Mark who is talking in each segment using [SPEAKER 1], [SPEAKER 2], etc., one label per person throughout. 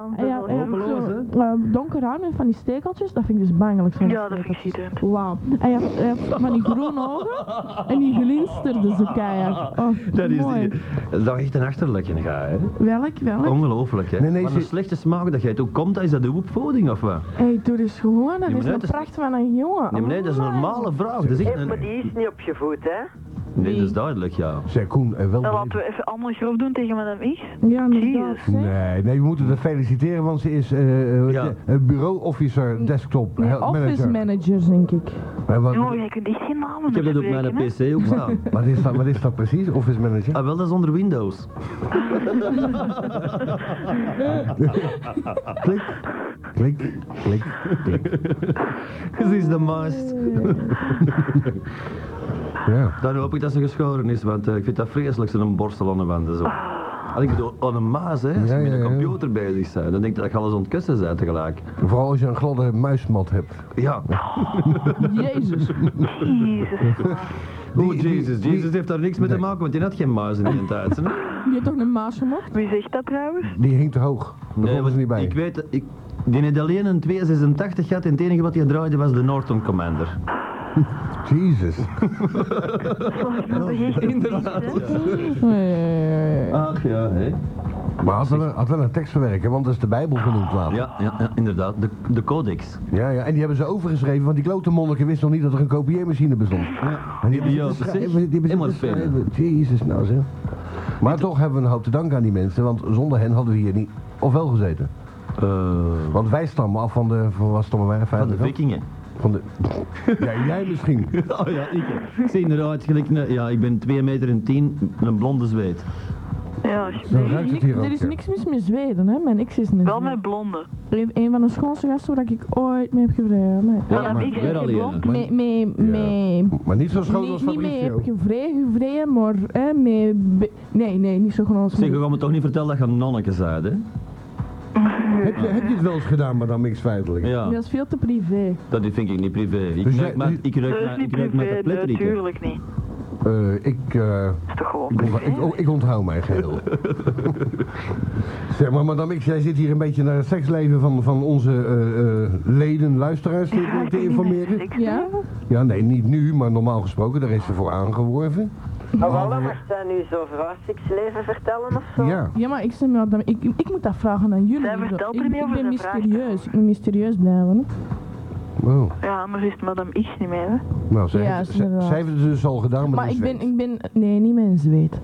[SPEAKER 1] Ah,
[SPEAKER 2] Hij had, hij had
[SPEAKER 3] Hopeloos,
[SPEAKER 2] zo,
[SPEAKER 3] hè?
[SPEAKER 2] eh, donker haar met van die stekeltjes. Dat vind ik dus bangelijk. zo'n
[SPEAKER 1] Ja, dat vind ik
[SPEAKER 2] stekeltjes.
[SPEAKER 1] ziedend.
[SPEAKER 2] Wauw. Hij had, hij had eh, van die groene ogen en die glinsterden zo keihard. Oh,
[SPEAKER 4] Dat is,
[SPEAKER 2] mooi.
[SPEAKER 4] die, dat is wel echt een achterlijk in ga, hè?
[SPEAKER 2] Welk, welk?
[SPEAKER 4] Ongelooflijk, hè?
[SPEAKER 3] Nee, nee,
[SPEAKER 4] Wat
[SPEAKER 3] ze-
[SPEAKER 4] een slechte smaak dat jij hebt. Hoe komt dat? Is dat de woepvoeding of wat?
[SPEAKER 2] hey, doe eens gewoon. Dat
[SPEAKER 4] Nee,
[SPEAKER 2] is
[SPEAKER 4] maar
[SPEAKER 2] een
[SPEAKER 4] dat is-
[SPEAKER 2] pracht van een jongen. Oh,
[SPEAKER 4] Nee, maar nee, dat is een
[SPEAKER 2] Amai.
[SPEAKER 4] normale vraag. Dat is echt
[SPEAKER 5] Hé, maar
[SPEAKER 4] een...
[SPEAKER 5] die is niet opgevoed, hè?
[SPEAKER 4] Nee, dat is duidelijk, ja.
[SPEAKER 3] Zeg Koen, eh, wel
[SPEAKER 1] Dan Nou, laten we even allemaal grof doen tegen madame X.
[SPEAKER 2] Ja, inderdaad.
[SPEAKER 1] Jezus.
[SPEAKER 2] zeg.
[SPEAKER 3] Nee, nee, we moeten haar feliciteren, want ze is eh, eh,
[SPEAKER 4] Ja.
[SPEAKER 3] de- een bureau-officer, desktop,
[SPEAKER 2] Nee,
[SPEAKER 3] help
[SPEAKER 2] office
[SPEAKER 3] manager.
[SPEAKER 2] managers, denk ik.
[SPEAKER 3] Maar wat,
[SPEAKER 1] Oh, jij kunt echt geen namen
[SPEAKER 4] Ik heb dat op
[SPEAKER 1] uitspreken,
[SPEAKER 4] mijn
[SPEAKER 1] hè?
[SPEAKER 4] pc ook staan.
[SPEAKER 3] wat, is dat, wat is dat precies, office manager?
[SPEAKER 4] Ah, wel, dat is onder Windows.
[SPEAKER 3] Klik, klik, klik, klik.
[SPEAKER 4] Ze is de meest.
[SPEAKER 3] Ja.
[SPEAKER 4] Dan hoop ik dat ze geschoren is, want eh, ik vind dat vreselijk, zo'n borstel aan de wanden zo. Als ik bedoel, aan een maas, hè, als
[SPEAKER 3] Ja,
[SPEAKER 4] je met
[SPEAKER 3] ja,
[SPEAKER 4] een
[SPEAKER 3] ja.
[SPEAKER 4] computer bezig bent, dan denk ik dat ik alles aan het kussen ben tegelijk.
[SPEAKER 3] Vooral als je een gladde muismat hebt.
[SPEAKER 4] Ja.
[SPEAKER 2] Jezus.
[SPEAKER 1] Jezus. man.
[SPEAKER 4] Oh,
[SPEAKER 3] die-
[SPEAKER 4] Jezus.
[SPEAKER 3] die-
[SPEAKER 4] Jezus heeft daar niks mee te maken, want die had geen muis in die tijd. hè?
[SPEAKER 2] Je hebt toch een maas gemocht?
[SPEAKER 1] Wie zegt dat trouwens?
[SPEAKER 3] Die hing te hoog. Daar konden
[SPEAKER 4] Eh, want
[SPEAKER 3] ze niet bij.
[SPEAKER 4] Ik weet, dat- ik, die heeft alleen een 286 gehad en het enige wat hij draaide was de Norton Commander.
[SPEAKER 3] Jezus.
[SPEAKER 1] Volgens mij ben je echt een beest, hè?
[SPEAKER 2] Nee.
[SPEAKER 4] Ach ja, hè?
[SPEAKER 3] Maar had wel, een- had wel een tekst verwerken, want dat is de Bijbel genoemd later.
[SPEAKER 4] Ja, ja, ja, inderdaad. De, de codex.
[SPEAKER 3] Ja, ja, en die hebben ze overgeschreven, want die klote monniken wisten nog niet dat er een kopieermachine bestond. En die
[SPEAKER 4] Ja,
[SPEAKER 3] hebben ze dus
[SPEAKER 4] precies.
[SPEAKER 3] geschreven, die hebben
[SPEAKER 4] Helemaal
[SPEAKER 3] ze
[SPEAKER 4] het vele.
[SPEAKER 3] geschreven. Jezus nou zeg. Maar toch hebben we een hoop te danken aan die mensen, want zonder hen hadden we hier niet of wel gezeten.
[SPEAKER 4] Eh,
[SPEAKER 3] Want wij stammen af van de, van wat stammen
[SPEAKER 4] van
[SPEAKER 3] wij?
[SPEAKER 4] de
[SPEAKER 3] Vijfde kant?
[SPEAKER 4] vikingen.
[SPEAKER 3] Van de, ja, jij misschien.
[SPEAKER 4] Oh ja, ik, ik zie eruit gelijk een- Ja, ik ben 2 meter en 10, een blonde zweet.
[SPEAKER 1] Ja,
[SPEAKER 3] Zo
[SPEAKER 1] alsjeblieft.
[SPEAKER 3] ruikt het hier ook.
[SPEAKER 2] Er is
[SPEAKER 3] ja.
[SPEAKER 2] niks mis met Zweden, hè. Mijn ex is een
[SPEAKER 1] Wel met blonde.
[SPEAKER 2] Zweed. Een van de schoonste gasten waar ik ooit mee heb gevreden. Nee.
[SPEAKER 4] Ja,
[SPEAKER 1] maar ik-
[SPEAKER 4] weer
[SPEAKER 1] ik-
[SPEAKER 4] alleen.
[SPEAKER 1] blond.
[SPEAKER 4] hè.
[SPEAKER 2] Mee, mee, mee.
[SPEAKER 3] Maar niet zo schoon
[SPEAKER 2] niet,
[SPEAKER 3] als
[SPEAKER 2] niet mee
[SPEAKER 3] Fabrizio.
[SPEAKER 2] heb gevreden, gevreden, maar hè, mee... be- Nee, nee, niet zo gewoon
[SPEAKER 4] Zeg, je gaat me toch niet vertellen dat je nonneke zei, hè?
[SPEAKER 3] Heb je, heb je het wel eens gedaan, maar dan niks feitelijk?
[SPEAKER 4] Ja,
[SPEAKER 2] Dat is veel te privé.
[SPEAKER 4] dat vind ik niet privé. Ik
[SPEAKER 3] Dus jij-
[SPEAKER 4] ruik met, ik
[SPEAKER 1] Dat
[SPEAKER 4] ruik
[SPEAKER 1] is
[SPEAKER 4] met,
[SPEAKER 1] niet
[SPEAKER 4] ik ruik met de
[SPEAKER 1] privé,
[SPEAKER 4] pletrieken.
[SPEAKER 1] natuurlijk niet.
[SPEAKER 3] Eh, ik, eh,
[SPEAKER 1] Dat is toch gewoon
[SPEAKER 3] ik, ont-
[SPEAKER 1] privé?
[SPEAKER 3] ik, oh, ik onthoud mij geheel. zeg maar, madame X, jij zit hier een beetje naar het seksleven van, van onze eh, eh, leden, luisteraars
[SPEAKER 1] Ik
[SPEAKER 3] te,
[SPEAKER 1] raak
[SPEAKER 3] te
[SPEAKER 1] er niet mee
[SPEAKER 3] informeren.
[SPEAKER 1] seks.
[SPEAKER 2] Ja?
[SPEAKER 3] Ja, nee, niet nu, maar normaal gesproken, daar is ze voor aangeworven.
[SPEAKER 5] Nou, wel, dan mag zij nu zo over haar seksleven vertellen of zo?
[SPEAKER 3] Ja.
[SPEAKER 2] Ja, maar ik, zeg maar, dan- ik, ik moet dat vragen aan jullie.
[SPEAKER 1] Zij vertelt er
[SPEAKER 2] ik,
[SPEAKER 1] niet
[SPEAKER 2] ik
[SPEAKER 1] over,
[SPEAKER 2] ben
[SPEAKER 1] zij vraagt
[SPEAKER 2] mysterieus. Ik moet mysterieus blijven. Hè.
[SPEAKER 3] Oh.
[SPEAKER 1] Ja, maar is het madame X niet meer, hè?
[SPEAKER 3] Nou, zij,
[SPEAKER 2] Ja,
[SPEAKER 3] heeft-
[SPEAKER 2] is
[SPEAKER 3] zij,
[SPEAKER 2] inderdaad.
[SPEAKER 3] zij heeft het dus al gedaan, maar,
[SPEAKER 2] Maar
[SPEAKER 3] die
[SPEAKER 2] ik ben,
[SPEAKER 3] zweet.
[SPEAKER 2] ik ben... Nee, niet met een zweet.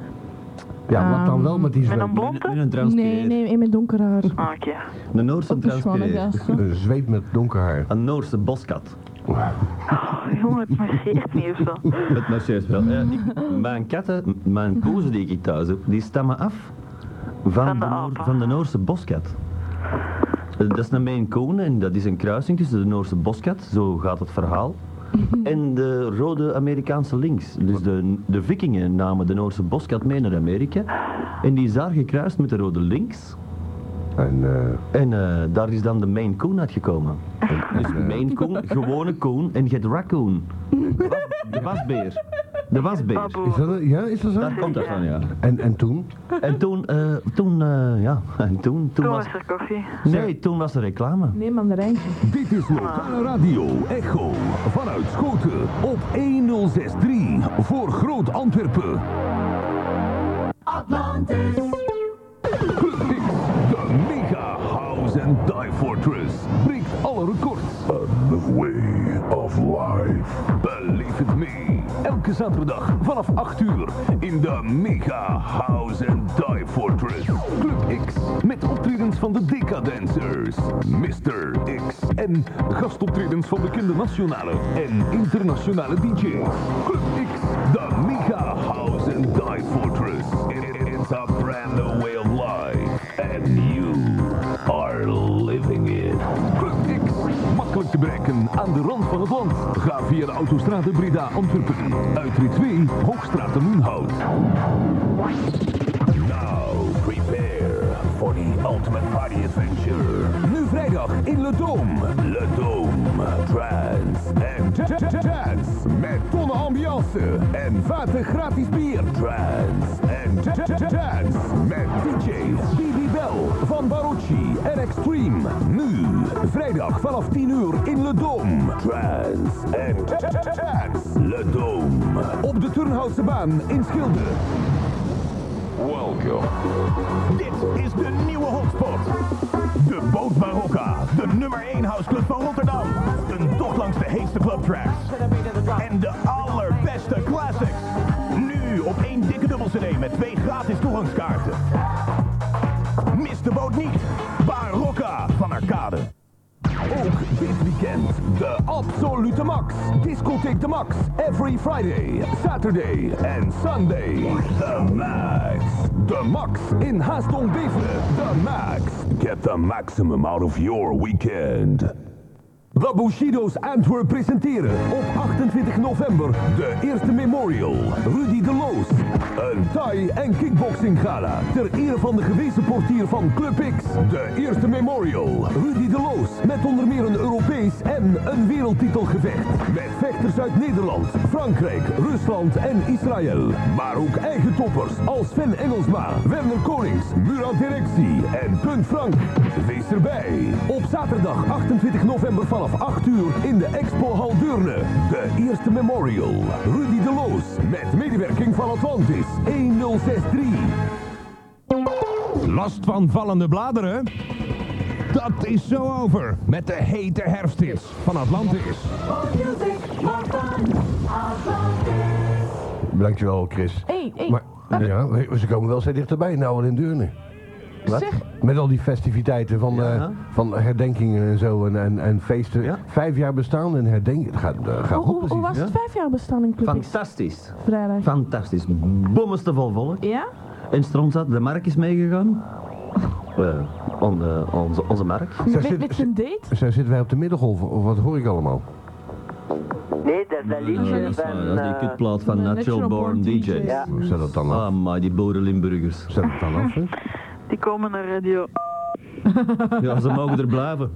[SPEAKER 3] Ja, wat dan
[SPEAKER 2] Ehm,
[SPEAKER 3] wel met die
[SPEAKER 1] Met
[SPEAKER 3] zweet?
[SPEAKER 1] een blonde?
[SPEAKER 4] Nu een
[SPEAKER 2] Nee,
[SPEAKER 4] transpireer.
[SPEAKER 2] nee, en met donker haar.
[SPEAKER 1] Ah, Oké.
[SPEAKER 4] De Noorse
[SPEAKER 2] Ook een schone
[SPEAKER 4] transpireer.
[SPEAKER 2] gast. hè.
[SPEAKER 3] Een zweet met donker haar.
[SPEAKER 4] Een Noorse boskat.
[SPEAKER 1] Oh, jongen, het marcheert niet of zo.
[SPEAKER 4] Het marcheert wel. Ja, ik- mijn katten, m- mijn koezen die ik thuis heb, die stammen af van,
[SPEAKER 1] de
[SPEAKER 4] de, Noor-
[SPEAKER 1] apen.
[SPEAKER 4] van de Noorse boskat. Eh, Dat is naar mijn koen en dat is een kruising tussen de Noorse boskat, zo gaat het verhaal, en de rode Amerikaanse links. Dus de, de vikingen namen de Noorse boskat mee naar Amerika en die is daar gekruist met de rode links.
[SPEAKER 3] En, eh,
[SPEAKER 4] En eh, daar is dan de Maine Coon uitgekomen. Dus Maine Coon, gewone Coon en je hebt Raccoon. De was- De wasbeer. De wasbeer.
[SPEAKER 1] Baboe.
[SPEAKER 3] is dat, een- ja, is dat zo?
[SPEAKER 4] Daar komt dat van, Ah, ja.
[SPEAKER 3] En, en toen?
[SPEAKER 4] En toen, eh, toen, eh, ja, en toen, toen
[SPEAKER 1] Toen
[SPEAKER 4] was...
[SPEAKER 1] was er koffie.
[SPEAKER 4] Nee, toen was er reclame.
[SPEAKER 2] Nee, mandarijntje.
[SPEAKER 6] Dit is lokale radio Echo vanuit Schoten op 1063 voor Groot Antwerpen. Atlantis. Club X, de mega house and dive fortress, breekt alle records. the way of life. Beleef het mee. Elke zaterdag vanaf 8 uur in de mega house and dive fortress. Club X met optredens van de Deca Dancers, Mr. X en gastoptredens van bekende nationale en internationale DJ's. Club X, de Mega House and Dive Fortress. It- it- it's a brand new way of life and you are living it. Club X, makkelijk te bereiken aan de rand van het land. Ga via de autostrade Breda Antwerpen, uitrit 2, Hoogstraat en Munhout. Now prepare for the ultimate party adventure. Nu vrijdag in Le Dome. Le Dome. Trance and da- da- dance. Met tonnen ambiance en vaten gratis bier. Trance and da- da- dance. Met DJ's BB Bell van Barucci en Stream nu. Vrijdag vanaf 10 uur in Le Dome. Trans en Trans. Le Dome. Op de Turnhoutse baan in Schilde. Welkom. Dit is de nieuwe hotspot. De Boot Marokka, de nummer 1 houseclub van Rotterdam. Een tocht langs de heetste clubtracks. En de allerbeste classics. Nu op één dikke dubbel CD met twee gratis toegangskaarten. Mis de boot niet. Barokka van Arcade. Ook dit weekend de absolute max. Discotheek de max. Every Friday, Saturday en Sunday. The max. The max in Haaston Beveren. The max. Get the maximum out of your weekend. De Bushido's Antwerp presenteren op 28 november de eerste Memorial. Rudy de Loos. Een Thai en kickboxing gala ter ere van de gewezen portier van Club X. De eerste Memorial. Rudy de Loos met onder meer een Europees en een wereldtitelgevecht. Met vechters uit Nederland, Frankrijk, Rusland en Israël. Maar ook eigen toppers als Sven Engelsma, Werner Konings, Murat Directie en Punt Frank. Wees erbij. Op zaterdag 28 november vanaf 8 uur in de Expo Hal Deurne. De eerste Memorial. Rudy de Loos met medewerking van Atlantis 1063.
[SPEAKER 7] Last van vallende bladeren? Dat is zo over met de hete herfsthits van Atlantis.
[SPEAKER 3] Dankjewel, Chris.
[SPEAKER 2] Hé, hé,
[SPEAKER 3] Maar ja, we- ze komen wel steeds dichterbij, nou al in Deurne.
[SPEAKER 2] zeg,
[SPEAKER 3] Met al die festiviteiten van,
[SPEAKER 4] Ja.
[SPEAKER 3] eh, van herdenkingen en zo en, en, en feesten.
[SPEAKER 4] Ja.
[SPEAKER 3] Vijf jaar bestaan en herdenking. Het gaat, eh, gaat
[SPEAKER 2] hoe,
[SPEAKER 3] goed
[SPEAKER 2] hoe, hoe
[SPEAKER 3] precies.
[SPEAKER 2] was het vijf jaar bestaan in Club X
[SPEAKER 4] Fantastisch.
[SPEAKER 2] vrijdag?
[SPEAKER 4] Fantastisch. Bommeste vol volk.
[SPEAKER 2] Ja?
[SPEAKER 4] In Stromstad, de markt is meegegaan. Eh, on- eh, onze, onze markt.
[SPEAKER 3] Zij
[SPEAKER 2] Met,
[SPEAKER 3] zit-
[SPEAKER 2] met zijn date?
[SPEAKER 3] Zij zitten wij op de middengolf, of wat hoor ik allemaal?
[SPEAKER 5] Nee, dat is dat
[SPEAKER 4] Ja,
[SPEAKER 5] liedje
[SPEAKER 4] dat is
[SPEAKER 5] van...
[SPEAKER 4] waar, ja,
[SPEAKER 5] eh,
[SPEAKER 4] die kutplaat van
[SPEAKER 2] van de
[SPEAKER 4] Natural Born DJs.
[SPEAKER 5] Ja.
[SPEAKER 3] Zet dat dan af.
[SPEAKER 4] Ah, maar die boeren Limburgers.
[SPEAKER 3] Zet dat dan af, hè?
[SPEAKER 1] Die komen naar Radio
[SPEAKER 4] Ja, ze mogen er blijven.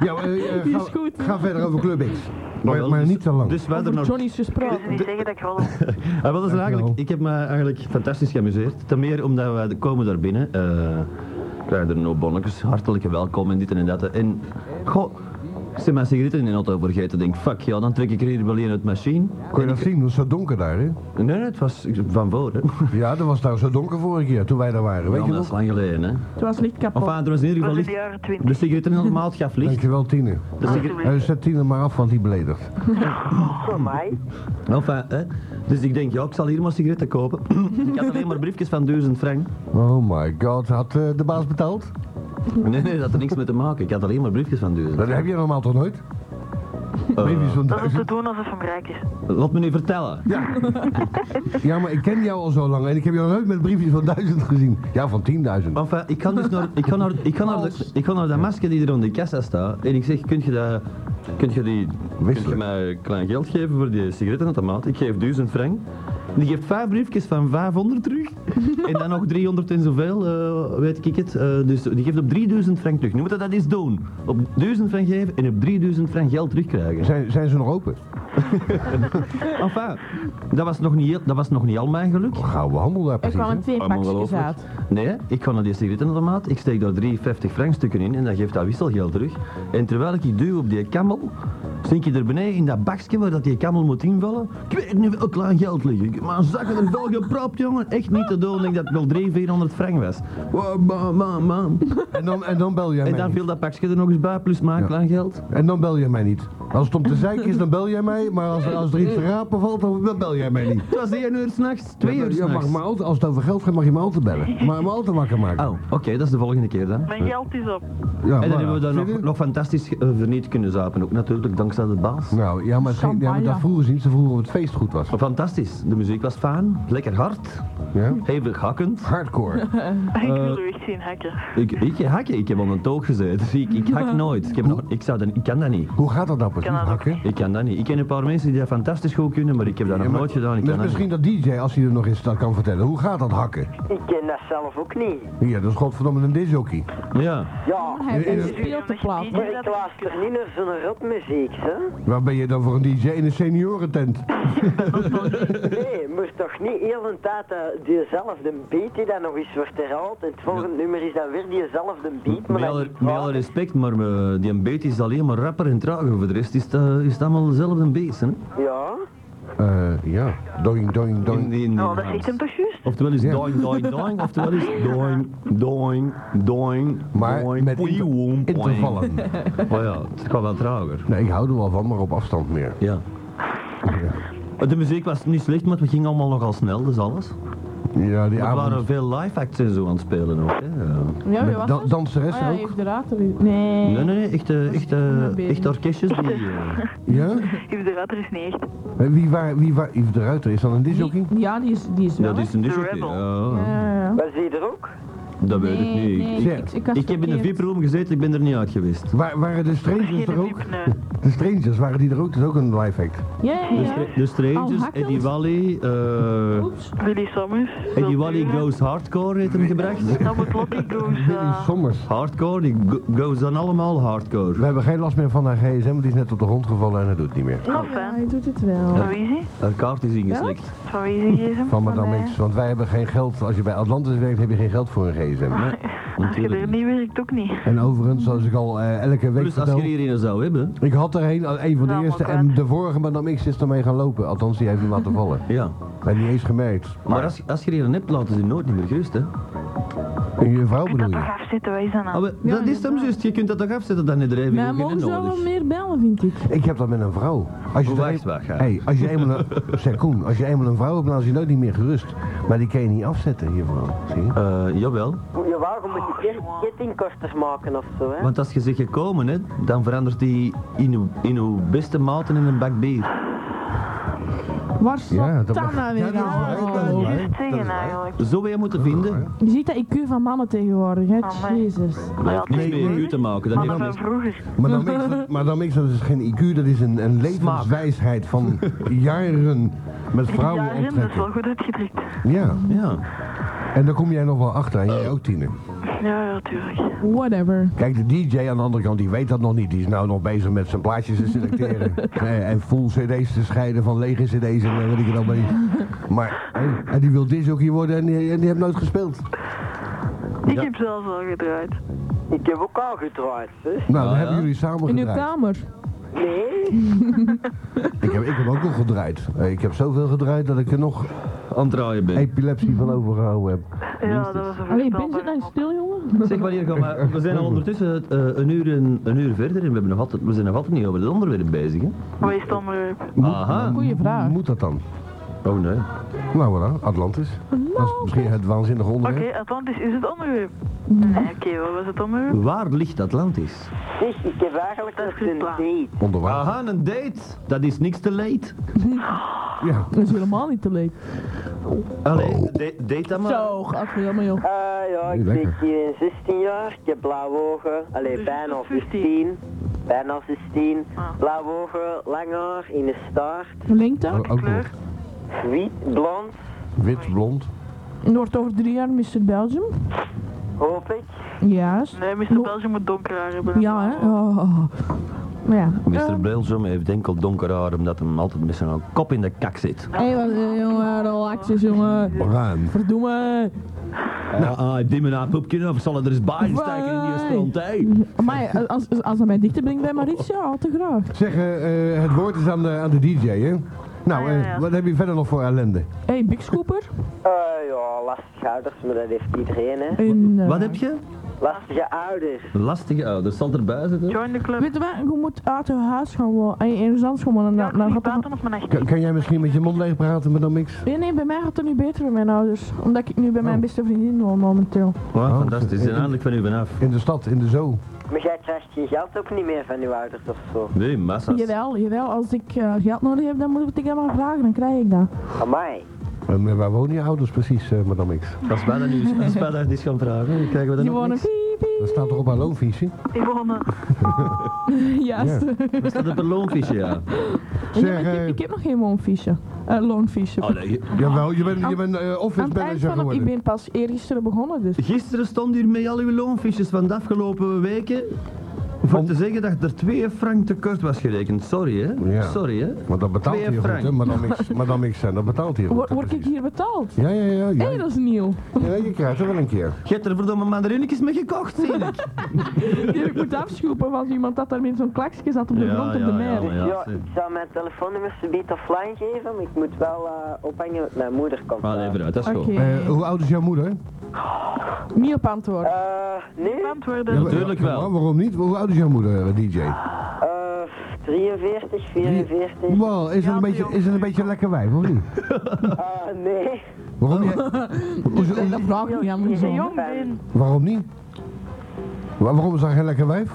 [SPEAKER 3] Ja, maar, eh, eh,
[SPEAKER 2] Die is
[SPEAKER 3] ga,
[SPEAKER 2] goed.
[SPEAKER 3] ga verder over Club X. Maar, maar niet te lang.
[SPEAKER 4] Dus wij er
[SPEAKER 2] Over
[SPEAKER 4] nog...
[SPEAKER 2] Johnny's gesproken.
[SPEAKER 5] Kunnen ze niet zeggen dat ik gewoon...
[SPEAKER 4] Ah, wel, dat is
[SPEAKER 3] Dankjewel.
[SPEAKER 4] eigenlijk, ik heb me eigenlijk fantastisch geamuseerd. Ten meer omdat wij de- komen daar binnen. eh krijgen er nog bonnetjes. Hartelijke welkom en dit en dat. En goh, ik zit mijn sigaretten in de auto vergeten. Denk, fuck ja, dan trek ik er hier wel een uit de machine.
[SPEAKER 3] Kon je dat zien? Het is zo donker daar, hè?
[SPEAKER 4] Nee, nee, het was van voor. Hè.
[SPEAKER 3] Ja, dat was daar zo donker vorige keer toen wij daar waren. Weet
[SPEAKER 4] Ja,
[SPEAKER 3] je
[SPEAKER 4] maar dat is
[SPEAKER 3] nog?
[SPEAKER 4] lang geleden. Hè.
[SPEAKER 2] Het was licht kapot.
[SPEAKER 4] Of aan, in ieder
[SPEAKER 1] was
[SPEAKER 4] geval
[SPEAKER 1] in de
[SPEAKER 4] licht.
[SPEAKER 1] jaren 20.
[SPEAKER 4] De sigaretten helemaal het gaf licht.
[SPEAKER 3] Dankjewel, Tine.
[SPEAKER 4] De sigaret-
[SPEAKER 3] Eh, zet Tine maar af, want die beledigt.
[SPEAKER 5] Voor mij.
[SPEAKER 4] Enfin, hè. Dus ik denk, ja, ik zal hier maar sigaretten kopen. ik had alleen maar briefjes van 1000 frank.
[SPEAKER 3] Oh my god, had eh, de baas betaald?
[SPEAKER 4] Nee, nee, dat had er niks mee te maken. Ik had alleen maar briefjes van 1000
[SPEAKER 3] Dat heb je normaal toch nooit?
[SPEAKER 4] Eh.
[SPEAKER 3] Weet je
[SPEAKER 2] Oh,
[SPEAKER 3] zo'n
[SPEAKER 1] Dat is te
[SPEAKER 3] duizend?
[SPEAKER 1] doen alsof hem rijk is.
[SPEAKER 4] Laat me nu vertellen.
[SPEAKER 3] Ja. ja, maar ik ken jou al zo lang en ik heb jou nooit met briefjes van duizend gezien. Ja, van tienduizend.
[SPEAKER 4] Enfin, ik ga dus naar, ik ga naar, ik ga naar, de, ik ga naar dat masker die er onder de kassa staat. En ik zeg, kunt je, dat, kunt je, die, kunt je
[SPEAKER 3] Wisselen.
[SPEAKER 4] mij een klein geld geven voor die sigarettenautomaat? Ik geef 1000 frank. Die geeft vijf briefjes van 500 terug. en dan nog 300 en zoveel, eh, weet ik het. Eh, dus die geeft op 3000 frank terug. Nu moet je dat eens doen. Op 1000 frank geven en op 3000 frank geld terugkrijgen.
[SPEAKER 3] Zijn, zijn ze nog open?
[SPEAKER 4] Enfin, dat was nog niet, heel- dat was nog niet al mijn geluk.
[SPEAKER 3] Gaan we handel daar
[SPEAKER 2] Er
[SPEAKER 3] precies?
[SPEAKER 2] kwam
[SPEAKER 3] hè?
[SPEAKER 2] een tweepakjes
[SPEAKER 4] Ongelooflijk.
[SPEAKER 2] uit.
[SPEAKER 4] Nee, ik ga naar die sigarettenautomaat, ik steek daar 53 frankstukken in en dat geeft dat wisselgeld terug. En terwijl ik duw op die kammel, stink je er beneden in dat bakje waar dat die kammel moet invallen. Ik weet niet welk klein geld liggen, maar zakken er wel gepropt, jongen. Echt niet te doen, ik denk dat het wel 300, 400 frank was. Wow, man, man, man.
[SPEAKER 3] En dan, en dan bel jij
[SPEAKER 4] En
[SPEAKER 3] mij
[SPEAKER 4] dan
[SPEAKER 3] niet.
[SPEAKER 4] viel dat pakje er nog eens bij, plus mijn
[SPEAKER 3] Ja.
[SPEAKER 4] klein geld.
[SPEAKER 3] En dan bel jij mij niet. Als het om te zeiken is, dan bel jij mij. Maar als, er- als er iets te rapen valt, dan dan bel jij mij niet.
[SPEAKER 4] Het was 1 uur s'nachts, 2 uur
[SPEAKER 3] Ja, mag
[SPEAKER 4] s'nachts.
[SPEAKER 3] maar altijd, als het over geld gaat, mag je me altijd bellen. Maar me altijd wakker maken.
[SPEAKER 4] Oh, oké, dat is de volgende keer dan.
[SPEAKER 3] Eh.
[SPEAKER 1] Mijn geld is op.
[SPEAKER 3] Ja,
[SPEAKER 4] En
[SPEAKER 3] voilà.
[SPEAKER 4] dan hebben we daar
[SPEAKER 3] Zie
[SPEAKER 4] nog,
[SPEAKER 3] je?
[SPEAKER 4] nog fantastisch eh, verniet kunnen zapen. Ook natuurlijk dankzij de baas.
[SPEAKER 3] Nou, ja, maar het ging, ja, maar dat
[SPEAKER 2] Champagne.
[SPEAKER 3] vroegen ze niet. Ze vroegen of het feest goed was.
[SPEAKER 4] Fantastisch. De muziek was fijn, lekker hard,
[SPEAKER 3] Ja?
[SPEAKER 4] hevig hakkend.
[SPEAKER 3] Hardcore.
[SPEAKER 1] Ik wil
[SPEAKER 3] Eh.
[SPEAKER 1] u echt zien hakken.
[SPEAKER 4] Ik, ik hakken, ik heb al een toog gezeten. Ik, ik hak nooit. Ik, heb nog, ik, zou dat, ik kan dat niet.
[SPEAKER 3] Hoe gaat dat nou precies,
[SPEAKER 1] Kan dat ook.
[SPEAKER 3] hakken?
[SPEAKER 4] Ik kan dat niet. Ik ken een paar mensen die dat fantastisch goed kunnen, maar ik heb dat nog
[SPEAKER 3] Ja, maar-
[SPEAKER 4] nooit gedaan. Oh, Ik
[SPEAKER 3] dus
[SPEAKER 4] kan dat
[SPEAKER 3] misschien dat DJ, als hij er nog is, dat kan vertellen. Hoe gaat dat hakken?
[SPEAKER 5] Ik ken dat zelf ook niet.
[SPEAKER 3] Ja, dat is godverdomme een disjockey.
[SPEAKER 4] Ja.
[SPEAKER 5] Ja,
[SPEAKER 2] Hij heeft een
[SPEAKER 3] Ja.
[SPEAKER 2] speelteplaat.
[SPEAKER 5] maar ik luister niet naar zo'n rotmuziek, hè?
[SPEAKER 3] Waar ben je dan voor een DJ in een seniorentent?
[SPEAKER 5] Nee, maar toch niet heel een tijd eh, diezelfde beat die dan nog eens wordt herhaald. En het volgende nummer is dan weer diezelfde beat, maar
[SPEAKER 4] Met
[SPEAKER 5] dan
[SPEAKER 4] alle,
[SPEAKER 5] niet
[SPEAKER 4] met alle
[SPEAKER 5] waar.
[SPEAKER 4] respect, maar eh, die beet is alleen maar rapper en trager. Voor de rest is het, eh, is het allemaal dezelfde beest. Hè?
[SPEAKER 5] Ja,
[SPEAKER 3] Eh, ja. Doing, doing,
[SPEAKER 4] In,
[SPEAKER 3] doing.
[SPEAKER 4] in, in
[SPEAKER 1] Oh, dat is echt een pasjuus.
[SPEAKER 4] Oftewel is
[SPEAKER 3] Ja.
[SPEAKER 4] doing, doing, doing. Oftewel is doing, doing, doing.
[SPEAKER 3] Maar
[SPEAKER 4] doing,
[SPEAKER 3] met
[SPEAKER 4] poei, woem,
[SPEAKER 3] inter-
[SPEAKER 4] poei.
[SPEAKER 3] intervallen.
[SPEAKER 4] Maar ja, het gaat wel trager.
[SPEAKER 3] Nee, ik hou er wel van, maar op afstand meer.
[SPEAKER 4] Ja. De muziek was niet slecht, maar we gingen allemaal nogal snel, dus alles.
[SPEAKER 3] Ja, die
[SPEAKER 4] Er waren
[SPEAKER 3] avond.
[SPEAKER 4] veel live acts en zo aan het spelen ook. Hè. Ja.
[SPEAKER 2] Ja, wie was
[SPEAKER 3] Dan,
[SPEAKER 2] dat?
[SPEAKER 3] danseres
[SPEAKER 2] Ah ja,
[SPEAKER 3] ook.
[SPEAKER 2] heeft de raad erin. Nee.
[SPEAKER 4] Nee, nee, nee, echte, echte,
[SPEAKER 2] Beter.
[SPEAKER 4] echte orkestjes die... eh,
[SPEAKER 3] Ja?
[SPEAKER 1] Yves de Ruiter is niet echt.
[SPEAKER 3] En Wie waar, wie waar, Yves de Ruiter, is dat een disjockey?
[SPEAKER 2] Die- Ja, die is, die is wel.
[SPEAKER 4] dat is een disjockey.
[SPEAKER 1] Rebel.
[SPEAKER 4] Ja,
[SPEAKER 2] Ja, ja, ja.
[SPEAKER 5] was die er ook?
[SPEAKER 4] dat weet ik
[SPEAKER 2] Nee,
[SPEAKER 4] niet.
[SPEAKER 2] nee,
[SPEAKER 3] Zeg,
[SPEAKER 2] ik, ik, had
[SPEAKER 4] Ik heb in de
[SPEAKER 2] verkeerd.
[SPEAKER 4] VIP-room gezeten, ik ben er niet uit geweest.
[SPEAKER 3] Waar, waren de Strangers er ook?
[SPEAKER 1] Nee.
[SPEAKER 3] De Strangers, waren die er ook? Dat is ook een live act.
[SPEAKER 2] Ja, ja,
[SPEAKER 4] De,
[SPEAKER 2] ja.
[SPEAKER 4] Stra- de
[SPEAKER 2] Al
[SPEAKER 4] Strangers,
[SPEAKER 2] hakkend?
[SPEAKER 4] Eddie Wally, eh
[SPEAKER 2] Oeps.
[SPEAKER 1] Willy Sommers.
[SPEAKER 4] Eddie
[SPEAKER 1] Wil
[SPEAKER 4] Wally
[SPEAKER 1] Duren.
[SPEAKER 4] Goes Hardcore heeft hem gebracht.
[SPEAKER 1] Dan moet Lottie Goes... eh,
[SPEAKER 3] Billy Sommers.
[SPEAKER 4] Hardcore, die go- goes dan allemaal
[SPEAKER 3] We
[SPEAKER 4] hardcore.
[SPEAKER 3] hebben geen last meer van haar gsm, want die is net op de grond gevallen en hij doet het niet meer.
[SPEAKER 1] Nou,
[SPEAKER 2] Ja,
[SPEAKER 1] fijn.
[SPEAKER 2] hij doet het wel.
[SPEAKER 1] Van wie is hij?
[SPEAKER 4] Haar kaart is ingeslikt.
[SPEAKER 1] Van wie is hij, Jesum?
[SPEAKER 3] Van
[SPEAKER 2] Van eh?
[SPEAKER 3] Madame
[SPEAKER 2] mij.
[SPEAKER 1] eh,
[SPEAKER 3] X, want wij hebben geen geld. Als je bij Atlantis werkt, heb je geen geld voor een gsm.
[SPEAKER 2] Ah.
[SPEAKER 4] Nee,
[SPEAKER 1] Als je er
[SPEAKER 4] natuurlijk. niet.
[SPEAKER 1] niet werkt, ook niet.
[SPEAKER 3] En overigens, zoals ik al eh, elke week
[SPEAKER 4] Plus als je
[SPEAKER 3] vertel...
[SPEAKER 4] er een zou hebben,
[SPEAKER 3] Ik had er een, eh, een van de
[SPEAKER 1] Nou,
[SPEAKER 3] eerste
[SPEAKER 1] maar
[SPEAKER 3] en
[SPEAKER 1] kwijt.
[SPEAKER 3] de vorige Madame X is ermee gaan lopen. Althans, die heeft hem laten vallen.
[SPEAKER 4] ja.
[SPEAKER 3] En niet eens gemerkt.
[SPEAKER 4] Maar Ah, als, als je er een hebt, laten ze je nooit niet meer gerust, hè.
[SPEAKER 3] En je vrouw
[SPEAKER 1] Moet
[SPEAKER 3] bedoel
[SPEAKER 1] dat
[SPEAKER 3] je?
[SPEAKER 1] toch afzetten, wat is dat
[SPEAKER 4] Ah,
[SPEAKER 1] nou?
[SPEAKER 4] we- dat is hem juist, je kunt dat toch afzetten, dan heb je er even
[SPEAKER 2] Maar
[SPEAKER 4] ook
[SPEAKER 2] mogen
[SPEAKER 4] in
[SPEAKER 2] ze wel wat
[SPEAKER 4] nodig.
[SPEAKER 2] meer bellen, vind ik.
[SPEAKER 3] Ik heb dat met een vrouw. Als je
[SPEAKER 4] Hoe
[SPEAKER 3] er
[SPEAKER 4] wacht,
[SPEAKER 3] een-
[SPEAKER 4] wacht, ja.
[SPEAKER 3] hey, als je eenmaal een, zeg Koen, als je eenmaal een vrouw hebt, dan is je nooit niet meer gerust. Maar die kan je niet afzetten, je vrouw. Zie je?
[SPEAKER 4] Eh, jawel,
[SPEAKER 5] Ja, waarom moet je keer kettingkorters maken of zo, hè?
[SPEAKER 4] want als je zegt gekomen, hè, dan verandert die in uw, in uw beste maten in een bak bier.
[SPEAKER 2] Waar staat
[SPEAKER 3] Ja, dat
[SPEAKER 2] dat
[SPEAKER 3] mag-
[SPEAKER 2] nou weer?
[SPEAKER 3] Ja, dat is waar, dat is
[SPEAKER 2] Oh.
[SPEAKER 3] waar.
[SPEAKER 1] Juist zeggen eigenlijk.
[SPEAKER 4] Zo wil je moeten vinden.
[SPEAKER 2] Je ziet dat IQ van mannen tegenwoordig, hè?
[SPEAKER 1] Amai.
[SPEAKER 2] Jezus.
[SPEAKER 4] Dat heeft niks
[SPEAKER 1] Nee,
[SPEAKER 4] met je
[SPEAKER 1] nee.
[SPEAKER 4] uur te maken. Dat
[SPEAKER 1] Maar
[SPEAKER 4] heeft
[SPEAKER 1] van vroeger.
[SPEAKER 4] niks-
[SPEAKER 3] Madame X, dat- Madame X, dat is geen IQ, dat is een, een levenswijsheid van jaren met vrouwen
[SPEAKER 1] Ja, Jim, dat is
[SPEAKER 3] optrekken.
[SPEAKER 1] wel goed uitgedrukt.
[SPEAKER 3] Ja,
[SPEAKER 4] Ja.
[SPEAKER 3] en daar kom jij nog wel achter en jij ook, Tine.
[SPEAKER 1] Ja, ja, tuurlijk.
[SPEAKER 2] Whatever.
[SPEAKER 3] Kijk, de DJ aan de andere kant, die weet dat nog niet. Die is nou nog bezig met zijn plaatjes te selecteren. Eh, en full cd's te scheiden van lege cd's en eh, weet ik het allemaal niet. Maar, eh, en die wil disjockey worden en die, en die heeft nooit gespeeld.
[SPEAKER 1] Ik heb zelfs al gedraaid.
[SPEAKER 5] Ik heb ook al gedraaid, hè?
[SPEAKER 3] Nou, dan
[SPEAKER 4] ja?
[SPEAKER 3] hebben jullie samen
[SPEAKER 2] In uw
[SPEAKER 3] gedraaid.
[SPEAKER 2] kamer.
[SPEAKER 5] Nee,
[SPEAKER 3] Ik heb, ik heb ook nog gedraaid. Eh, Ik heb zoveel gedraaid dat ik er nog
[SPEAKER 4] Aan het draaien ben.
[SPEAKER 3] epilepsie van overgehouden heb.
[SPEAKER 1] Ja, dat was een
[SPEAKER 2] Allee, ben zit nou
[SPEAKER 1] voorspelbare
[SPEAKER 2] stil, jongen?
[SPEAKER 4] Zeg wanneer gaan we... We zijn al ondertussen eh, een, uur en, een uur verder en we, hebben nog altijd, we zijn nog altijd niet over het onderwerp bezig, hè.
[SPEAKER 1] Wat is het onderwerp?
[SPEAKER 4] Aha.
[SPEAKER 2] Goeie vraag.
[SPEAKER 3] Moet dat dan?
[SPEAKER 4] Oh nee.
[SPEAKER 3] Nou, voilà, Atlantis. Dat is misschien het waanzinnige
[SPEAKER 1] Oké,
[SPEAKER 3] onderwerp.
[SPEAKER 1] Atlantis is het onderwerp. Nee, oké, wat was het onderwerp?
[SPEAKER 4] Waar ligt Atlantis?
[SPEAKER 5] zeg, ik heb eigenlijk
[SPEAKER 1] Dat is
[SPEAKER 5] nog een
[SPEAKER 1] goed,
[SPEAKER 5] date.
[SPEAKER 3] Onder water.
[SPEAKER 4] Aha, een date. Dat is niks te leed.
[SPEAKER 3] Ja.
[SPEAKER 2] Dat is helemaal niet te leuk.
[SPEAKER 4] Allee, da- date dan maar.
[SPEAKER 2] Zo, gadverdamme, joh.
[SPEAKER 5] Ah ja,
[SPEAKER 3] Niet
[SPEAKER 5] ik
[SPEAKER 3] lekker.
[SPEAKER 5] ben hier in 16 jaar. Ik heb blauwe ogen. Allee,
[SPEAKER 1] Dus
[SPEAKER 5] bijna
[SPEAKER 1] het is
[SPEAKER 5] 16. Bijna 16.
[SPEAKER 1] Ah.
[SPEAKER 5] Blauwe ogen, lang haar, in de staart.
[SPEAKER 2] Verlengt dat?
[SPEAKER 3] Ook nog.
[SPEAKER 1] kleur?
[SPEAKER 5] Wit, blond,
[SPEAKER 3] Wit, blond.
[SPEAKER 2] En Wordt over drie jaar Mr. Belgium?
[SPEAKER 5] hoop ik.
[SPEAKER 2] Juist.
[SPEAKER 1] Nee, Mr.
[SPEAKER 2] Nog-
[SPEAKER 1] Belgium moet donker haar hebben.
[SPEAKER 2] Ja, hè? Oh. Maar ja.
[SPEAKER 4] Mr. Belgium heeft enkel donker haar omdat hem altijd met zijn kop in de kak zit.
[SPEAKER 2] Hé, hey, wat, eh, jongen, relax eens, jongen.
[SPEAKER 3] Bruin.
[SPEAKER 2] Verdomme.
[SPEAKER 4] Nou, ah, die mijn poepje of zal er eens bij steken in die strand, hé.
[SPEAKER 2] Maar eh, als, als, als dat mij dichter brengt bij Maritza, al te graag.
[SPEAKER 3] Zeg, eh, eh, het woord is aan de, aan de DJ, hè? Nou,
[SPEAKER 1] Ah, ja,
[SPEAKER 3] eh,
[SPEAKER 1] ja.
[SPEAKER 3] wat heb je verder nog voor ellende?
[SPEAKER 2] Hé, hey, Big Scooper.
[SPEAKER 5] Ah ja, lastige ouders, maar dat heeft iedereen, hè.
[SPEAKER 2] En, eh,
[SPEAKER 4] Wat heb je?
[SPEAKER 5] Lastige ouders.
[SPEAKER 4] Lastige ouders, zal erbij zitten.
[SPEAKER 1] Join the club.
[SPEAKER 2] Weet je wat, je moet uit je huis gaan eh, wonen. En ergens gewoon en
[SPEAKER 1] ja,
[SPEAKER 2] dan,
[SPEAKER 1] ik
[SPEAKER 2] dan
[SPEAKER 1] niet
[SPEAKER 2] gaat het...
[SPEAKER 1] praten op mijn echt.
[SPEAKER 3] Kan, kan jij misschien met je mond leeg praten, maar dan niks?
[SPEAKER 2] Nee, nee, bij mij gaat het nu beter met mijn ouders. Omdat ik nu bij
[SPEAKER 4] Oh.
[SPEAKER 2] mijn beste vriendin woon momenteel.
[SPEAKER 4] Wow,
[SPEAKER 3] Oh,
[SPEAKER 4] fantastisch,
[SPEAKER 3] eh,
[SPEAKER 4] zijn eindelijk van u vanaf.
[SPEAKER 3] In de stad, in de zoo.
[SPEAKER 5] Maar jij krijgt je geld ook niet meer van je ouders of zo.
[SPEAKER 4] Nee, massa's.
[SPEAKER 2] Jawel, jawel. Als ik eh, geld nodig heb, dan moet ik hem maar vragen. Dan krijg ik dat.
[SPEAKER 5] Amai.
[SPEAKER 3] En, eh, waar wonen je ouders precies, eh madame X?
[SPEAKER 4] Als wij dat nu als wij dat eens gaan vragen, dan krijgen we
[SPEAKER 2] Die
[SPEAKER 4] dan nog
[SPEAKER 2] wonen...
[SPEAKER 4] niks.
[SPEAKER 2] Piep,
[SPEAKER 3] Dat
[SPEAKER 2] piep.
[SPEAKER 3] staat toch op haar loonfietsje?
[SPEAKER 1] Yvonne.
[SPEAKER 2] Juist.
[SPEAKER 4] Dat is dat een loonvisje, ja.
[SPEAKER 2] Ja, maar
[SPEAKER 3] Zeg,
[SPEAKER 2] ik, heb,
[SPEAKER 3] eh,
[SPEAKER 2] ik heb nog geen woonfiche. Eh loonfiche.
[SPEAKER 4] Allee,
[SPEAKER 3] jawel, je bent, je
[SPEAKER 2] Aan-
[SPEAKER 3] bent eh, office
[SPEAKER 2] Aan het eind
[SPEAKER 3] manager
[SPEAKER 2] van het, ik
[SPEAKER 3] geworden.
[SPEAKER 2] ben pas eergisteren begonnen, dus.
[SPEAKER 4] Gisteren stond hier met al uw loonfiches van de afgelopen weken. Voor te zeggen dat er 2 frank tekort was gerekend. Sorry hè.
[SPEAKER 3] Ja.
[SPEAKER 4] Sorry hè.
[SPEAKER 3] Want dat betaalt
[SPEAKER 4] Twee
[SPEAKER 3] hij goed,
[SPEAKER 4] frank.
[SPEAKER 3] hè, Madame X, Madame X, hè, dat betaalt hij goed.
[SPEAKER 2] Word, word ik
[SPEAKER 3] precies.
[SPEAKER 2] hier betaald?
[SPEAKER 3] Ja, ja, ja.
[SPEAKER 2] Hé,
[SPEAKER 3] ja,
[SPEAKER 2] dat is nieuw.
[SPEAKER 3] ja, je krijgt er wel een keer.
[SPEAKER 4] Je hebt er verdomme mandarinetjes mee gekocht, zie ik.
[SPEAKER 2] Die ik moet afschoepen, want iemand dat daar met zo'n klaksje zat op de grond op de mer.
[SPEAKER 4] ja,
[SPEAKER 5] Dus Ja,
[SPEAKER 4] zie.
[SPEAKER 5] ik zou mijn telefoonnummer subiet offline geven, maar ik moet wel eh, ophangen, want mijn moeder komt.
[SPEAKER 4] Maar
[SPEAKER 5] eh.
[SPEAKER 4] even uit, dat is
[SPEAKER 2] Oké,
[SPEAKER 4] goed.
[SPEAKER 3] Eh, hoe oud is jouw moeder?
[SPEAKER 2] niet op antwoord.
[SPEAKER 5] Eh, nee,
[SPEAKER 1] Antwoorden.
[SPEAKER 3] Ja,
[SPEAKER 4] Natuurlijk
[SPEAKER 3] wa-
[SPEAKER 4] wel.
[SPEAKER 3] wa- waarom niet? Hoe oud is jouw moeder, eh, DJ?
[SPEAKER 5] eh 43, 44.
[SPEAKER 3] Wow, is het
[SPEAKER 1] Ja,
[SPEAKER 3] een beetje,
[SPEAKER 1] die
[SPEAKER 3] is het een beetje een lekker wijf, of niet?
[SPEAKER 5] Eh, nee.
[SPEAKER 3] Waarom niet? Is- is-
[SPEAKER 2] dat vraag ik niet aan mijn
[SPEAKER 5] Ja,
[SPEAKER 2] zoon.
[SPEAKER 5] ja.
[SPEAKER 1] Jong ben.
[SPEAKER 3] waarom niet? Wa- waarom is dat geen lekker wijf?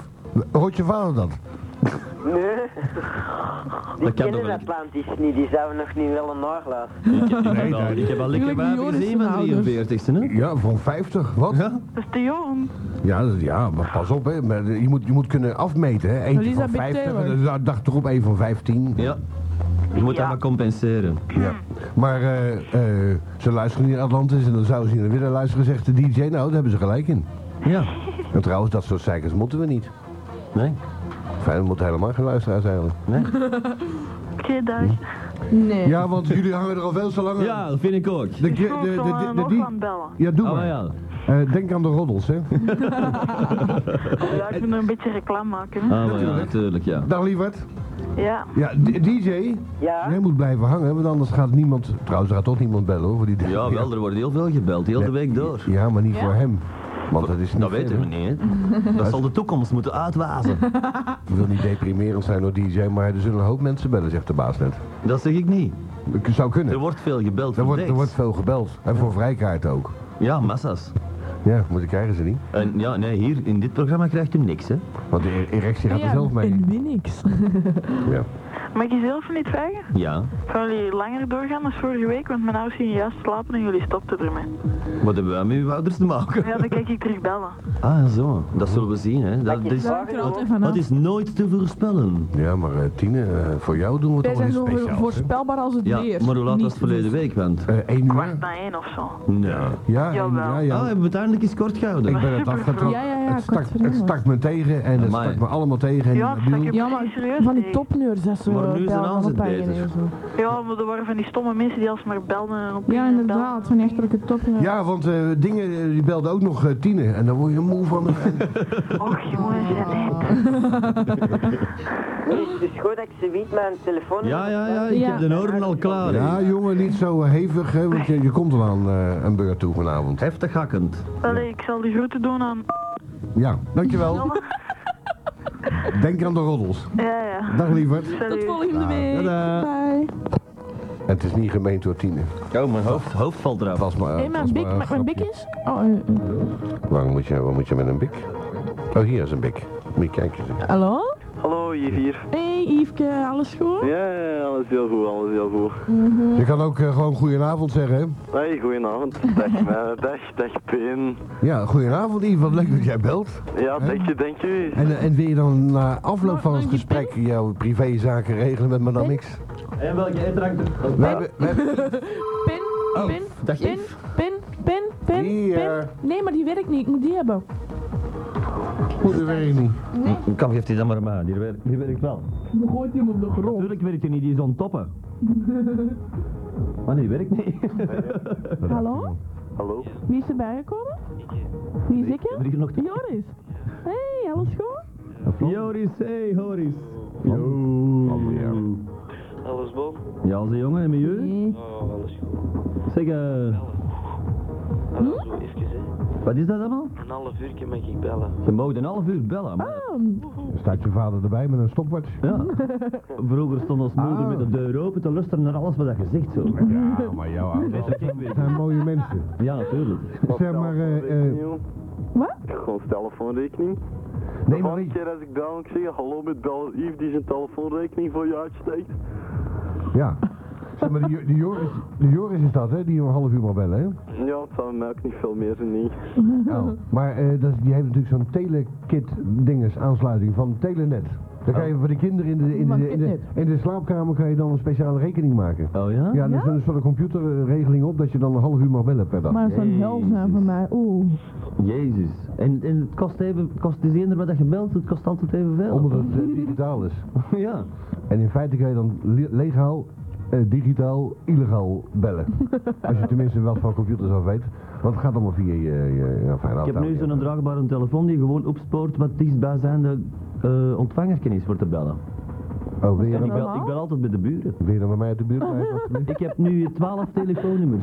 [SPEAKER 3] Rood je vader dat?
[SPEAKER 5] Nee. Die
[SPEAKER 4] Dat kan toch
[SPEAKER 5] kennen
[SPEAKER 4] wel.
[SPEAKER 5] dat land is niet, die zouden nog niet willen naarlaten.
[SPEAKER 4] Ik heb al- Ik heb al lekker
[SPEAKER 2] Tuurlijk,
[SPEAKER 4] wapen
[SPEAKER 2] Joris
[SPEAKER 4] gezien
[SPEAKER 2] en
[SPEAKER 4] van
[SPEAKER 2] ouders.
[SPEAKER 4] 43 e hè.
[SPEAKER 3] Ja, van 50. Wat? Ja,
[SPEAKER 1] Dat is te jong.
[SPEAKER 3] dat- ja maar pas op, hè. Maar Je, moet, je moet kunnen afmeten. Hè. Eentje van
[SPEAKER 2] Elizabeth
[SPEAKER 3] 50,
[SPEAKER 2] Taylor.
[SPEAKER 3] en dan dacht toch op een van 15.
[SPEAKER 4] Ja. Je moet dat
[SPEAKER 5] Ja.
[SPEAKER 4] maar compenseren.
[SPEAKER 3] Maar eh, eh, ze luisteren niet naar Atlantis en dan zouden ze niet naar willen luisteren, zegt de DJ. Nou, daar hebben ze gelijk in.
[SPEAKER 4] Ja.
[SPEAKER 3] En trouwens, dat soort zeikers moeten we niet.
[SPEAKER 4] Nee.
[SPEAKER 3] Fijn, we moeten helemaal geen luisteraars eigenlijk.
[SPEAKER 1] Oké, dag.
[SPEAKER 2] Nee.
[SPEAKER 3] Ja, want jullie hangen er al veel te lang aan.
[SPEAKER 4] Ja, dat vind ik ook.
[SPEAKER 3] De,
[SPEAKER 1] Ik
[SPEAKER 3] de-
[SPEAKER 1] wil
[SPEAKER 3] de-
[SPEAKER 1] zo
[SPEAKER 3] de-
[SPEAKER 1] eh, aan
[SPEAKER 3] de- die-
[SPEAKER 1] Norland bellen.
[SPEAKER 3] Ja, doe
[SPEAKER 4] Oh
[SPEAKER 3] maar.
[SPEAKER 4] ja.
[SPEAKER 3] Eh, denk aan de roddels, hè.
[SPEAKER 1] Ja, ik moet nog een beetje reclame maken. hè.
[SPEAKER 4] Ah, maar ja,
[SPEAKER 3] Natuurlijk.
[SPEAKER 4] natuurlijk, ja.
[SPEAKER 3] Dag, lieverd.
[SPEAKER 1] Ja.
[SPEAKER 3] Ja, d- DJ,
[SPEAKER 5] Ja?
[SPEAKER 3] jij moet blijven hangen, want anders gaat niemand... Trouwens, er gaat toch niemand bellen, hoor. Voor die
[SPEAKER 4] Ja, wel, er wordt heel veel gebeld, heel de week door.
[SPEAKER 3] Ja, maar niet
[SPEAKER 2] Ja?
[SPEAKER 3] voor hem. Want dat is niet
[SPEAKER 4] Dat weten
[SPEAKER 3] fair,
[SPEAKER 4] we
[SPEAKER 3] hè.
[SPEAKER 4] niet, hè. Dat zal de toekomst moeten uitwazen.
[SPEAKER 3] Ik wil niet deprimerend zijn door DJ, maar er zullen een hoop mensen bellen, zegt de baas net.
[SPEAKER 4] Dat zeg ik niet.
[SPEAKER 3] Ik zou kunnen.
[SPEAKER 4] Er wordt veel gebeld
[SPEAKER 3] Er
[SPEAKER 4] voor
[SPEAKER 3] wordt, er wordt
[SPEAKER 4] dates.
[SPEAKER 3] veel gebeld. En voor vrijkaart ook.
[SPEAKER 4] Ja, massa's.
[SPEAKER 3] Ja, maar die krijgen ze niet.
[SPEAKER 4] En ja, nee, hier in dit programma krijgt u niks, hè.
[SPEAKER 3] Want de er- erectie gaat er
[SPEAKER 2] Ja,
[SPEAKER 3] zelf mee.
[SPEAKER 2] en win niks.
[SPEAKER 3] Ja.
[SPEAKER 1] Mag ik je zelf niet vragen?
[SPEAKER 4] Ja.
[SPEAKER 1] Gaan jullie langer doorgaan dan vorige week? Want mijn ouders gingen juist slapen en jullie stopten ermee.
[SPEAKER 4] Wat hebben wij met uw ouders te maken?
[SPEAKER 1] Ja, dan kijk ik terug bellen.
[SPEAKER 4] Ah, zo. Dat zullen we zien, hè. Dat,
[SPEAKER 5] ik
[SPEAKER 4] dat is,
[SPEAKER 5] vraag-
[SPEAKER 2] Hangt er altijd vanaf.
[SPEAKER 4] dat is nooit te voorspellen.
[SPEAKER 3] ja, maar eh, Tine, eh, voor jou doen we
[SPEAKER 2] Wij
[SPEAKER 3] toch
[SPEAKER 2] zijn
[SPEAKER 3] iets
[SPEAKER 2] zo voor-
[SPEAKER 3] speciaals. hè?
[SPEAKER 2] voorspelbaar als het
[SPEAKER 4] Ja,
[SPEAKER 2] weer.
[SPEAKER 4] maar hoe laat was
[SPEAKER 2] Niet- dus.
[SPEAKER 4] het verleden week, want...
[SPEAKER 3] Eh, één uur?
[SPEAKER 1] Kwart na één of zo.
[SPEAKER 4] Nee.
[SPEAKER 3] Ja, één-
[SPEAKER 1] Jawel.
[SPEAKER 3] ja,
[SPEAKER 4] Ah,
[SPEAKER 3] ja.
[SPEAKER 4] hebben we het eindelijk eens kort gehouden?
[SPEAKER 3] Ik ben het afgetrokken.
[SPEAKER 2] Ja, ja, ja,
[SPEAKER 3] het, stak,
[SPEAKER 2] kwart voor één
[SPEAKER 3] het stak me tegen en het
[SPEAKER 4] Amai.
[SPEAKER 3] stak me allemaal tegen. En
[SPEAKER 1] Ja,
[SPEAKER 3] die
[SPEAKER 1] het stak
[SPEAKER 3] mobiel-
[SPEAKER 2] Ja, maar
[SPEAKER 1] Serieus,
[SPEAKER 2] van die
[SPEAKER 1] nee.
[SPEAKER 2] topneurs, dat ze
[SPEAKER 4] Maar nu is de
[SPEAKER 2] bellen van
[SPEAKER 4] aanzet
[SPEAKER 2] de pagina
[SPEAKER 4] beter.
[SPEAKER 2] en zo.
[SPEAKER 1] Ja, maar er waren van die stomme mensen die alsmaar belden en op
[SPEAKER 2] Ja,
[SPEAKER 1] en
[SPEAKER 2] inderdaad, van die echterlijke topneurs.
[SPEAKER 3] Ja, want eh, dingen eh, die belden ook nog eh, Tine. En daar word je moe van.
[SPEAKER 1] belden. Och, jongens, ja, nee.
[SPEAKER 5] Nee, het is goed dat ik subiet mijn telefoonnummer...
[SPEAKER 4] Ja, ja, ja. Ik
[SPEAKER 2] Ja.
[SPEAKER 4] heb de oren al klaar. hè.
[SPEAKER 3] ja, jongen, niet zo eh, hevig, hè, want je, je komt er aan eh, een beurt toe vanavond.
[SPEAKER 4] Heftig hakkend.
[SPEAKER 1] Allee, ik zal die groeten doen aan...
[SPEAKER 3] Ja, dankjewel. Denk aan de roddels.
[SPEAKER 1] Ja, ja.
[SPEAKER 3] Dag lieverd.
[SPEAKER 2] Tot
[SPEAKER 1] Salut.
[SPEAKER 2] volgende week.
[SPEAKER 4] Tada.
[SPEAKER 2] Bye.
[SPEAKER 3] Het is niet gemeen door Tine.
[SPEAKER 4] Oh, mijn hoofd, hoofd valt eraf.
[SPEAKER 3] Het was maar,
[SPEAKER 2] Hé,
[SPEAKER 3] het
[SPEAKER 2] mijn
[SPEAKER 3] was
[SPEAKER 2] bik,
[SPEAKER 3] maar een
[SPEAKER 2] mijn- mijn bik
[SPEAKER 3] grapje.
[SPEAKER 2] is... Oh, eh, eh.
[SPEAKER 3] Waarom moet je, waar moet je met een bik? Oh, hier is een bik. Moet je kijken. zeg.
[SPEAKER 2] Hallo?
[SPEAKER 8] Hallo, hier, hier.
[SPEAKER 2] Hey Yveske, alles goed?
[SPEAKER 8] Ja, ja, ja, alles heel goed, alles heel goed.
[SPEAKER 3] Je kan ook eh, gewoon goedenavond zeggen, hè?
[SPEAKER 8] Hey, goedenavond. Dag, eh, dag, dag, Pin.
[SPEAKER 3] Ja, goedenavond Yves, wat leuk dat jij belt.
[SPEAKER 8] Ja, dank je, dank je.
[SPEAKER 3] En, eh, en wil je dan na afloop
[SPEAKER 2] Mag-
[SPEAKER 3] van
[SPEAKER 2] mag
[SPEAKER 3] het
[SPEAKER 2] je
[SPEAKER 3] gesprek jouw privézaken regelen met madame
[SPEAKER 2] Ben?
[SPEAKER 3] X?
[SPEAKER 4] En welke eindrank?
[SPEAKER 3] We hebben, we hebben
[SPEAKER 2] Pin, pin,
[SPEAKER 4] dag
[SPEAKER 2] pin,
[SPEAKER 4] Yves.
[SPEAKER 2] pin, pin, pin,
[SPEAKER 3] Oh, Hier.
[SPEAKER 2] pin. Nee, maar die werkt niet, ik moet die hebben.
[SPEAKER 3] goed, dat weet ik niet.
[SPEAKER 4] Kan geeft hij dan maar maar. Die werkt, die werkt wel.
[SPEAKER 2] Je gooit hem op de grond.
[SPEAKER 4] Natuurlijk werkt hij niet, die is on toppen. Maar nee, die werkt niet.
[SPEAKER 2] Hallo?
[SPEAKER 8] Hallo.
[SPEAKER 2] Wie is erbij gekomen? Wie is ik? hè?
[SPEAKER 4] Er is nog twee.
[SPEAKER 2] Joris. Hey, alles goed?
[SPEAKER 4] Joris, hey Joris.
[SPEAKER 3] Hallo.
[SPEAKER 8] Alles bol?
[SPEAKER 4] Ja, als een jongen en met jullie?
[SPEAKER 2] Nee.
[SPEAKER 8] Oh, alles goed.
[SPEAKER 4] Zeg, eh, Hm?
[SPEAKER 8] Hallo, zo even, hè.
[SPEAKER 4] wat is dat allemaal?
[SPEAKER 8] Een half uurtje mag ik bellen.
[SPEAKER 4] Je mag een half uur bellen,
[SPEAKER 2] Ah.
[SPEAKER 4] maar...
[SPEAKER 3] Staat je vader erbij met een stopwatch?
[SPEAKER 4] Ja. Vroeger stond ons moeder met de deur open te luisteren naar alles wat dat gezegd zo.
[SPEAKER 3] Ja, maar jouw ouders zijn mooie mensen.
[SPEAKER 4] Ja, natuurlijk.
[SPEAKER 3] Zeg maar, eh, eh,
[SPEAKER 8] Telefoonrekening,
[SPEAKER 2] Wat?
[SPEAKER 8] joh. Gewoon telefoonrekening.
[SPEAKER 3] nee, maar
[SPEAKER 8] Volgende
[SPEAKER 3] weet je-
[SPEAKER 8] keer als ik bel, ik zeg hallo met bel Yves die zijn telefoonrekening voor je uitsteekt.
[SPEAKER 3] Ja. Zeg maar, die, Jo- die, Joris, die Joris is dat, hè? Die om een half uur mag bellen, hè?
[SPEAKER 8] Ja, het zou mij ook niet veel meer zijn, niet.
[SPEAKER 3] Nou, Oh. Maar eh, dat, die heeft natuurlijk zo'n telekit dinges aansluiting van Telenet. Dan ga je voor de kinderen in de, in
[SPEAKER 2] Maar
[SPEAKER 3] de, in de,
[SPEAKER 2] dit.
[SPEAKER 3] in de slaapkamer kan je dan een speciale rekening maken.
[SPEAKER 4] Oh ja?
[SPEAKER 3] Ja, dan is er een soort computerregeling op dat je dan een half uur mag bellen per dag.
[SPEAKER 2] Maar zo'n
[SPEAKER 4] Jezus.
[SPEAKER 2] helzaam van mij, oeh.
[SPEAKER 4] Jezus. En, en het kost even, het kost, het is eender wat dat je belt, het kost altijd evenveel.
[SPEAKER 3] Omdat het eh, digitaal is.
[SPEAKER 4] ja.
[SPEAKER 3] En in feite kan je dan le- legaal, eh, digitaal, illegaal bellen. Als je tenminste wel van computers af weet. Want het gaat allemaal via je... je ja, fijn,
[SPEAKER 4] Ik heb nu zo'n draagbare telefoon die gewoon opspoort wat dichtstbijzijnde eh ontvangerken is voor te bellen.
[SPEAKER 3] Oh, wil je,
[SPEAKER 4] En
[SPEAKER 3] dan,
[SPEAKER 4] ik bel,
[SPEAKER 2] normaal?
[SPEAKER 4] ik bel altijd bij de buren.
[SPEAKER 3] wil je dan bij mij uit de buurt blijven? alsjeblieft?
[SPEAKER 4] Ik heb nu 12 telefoonnummers.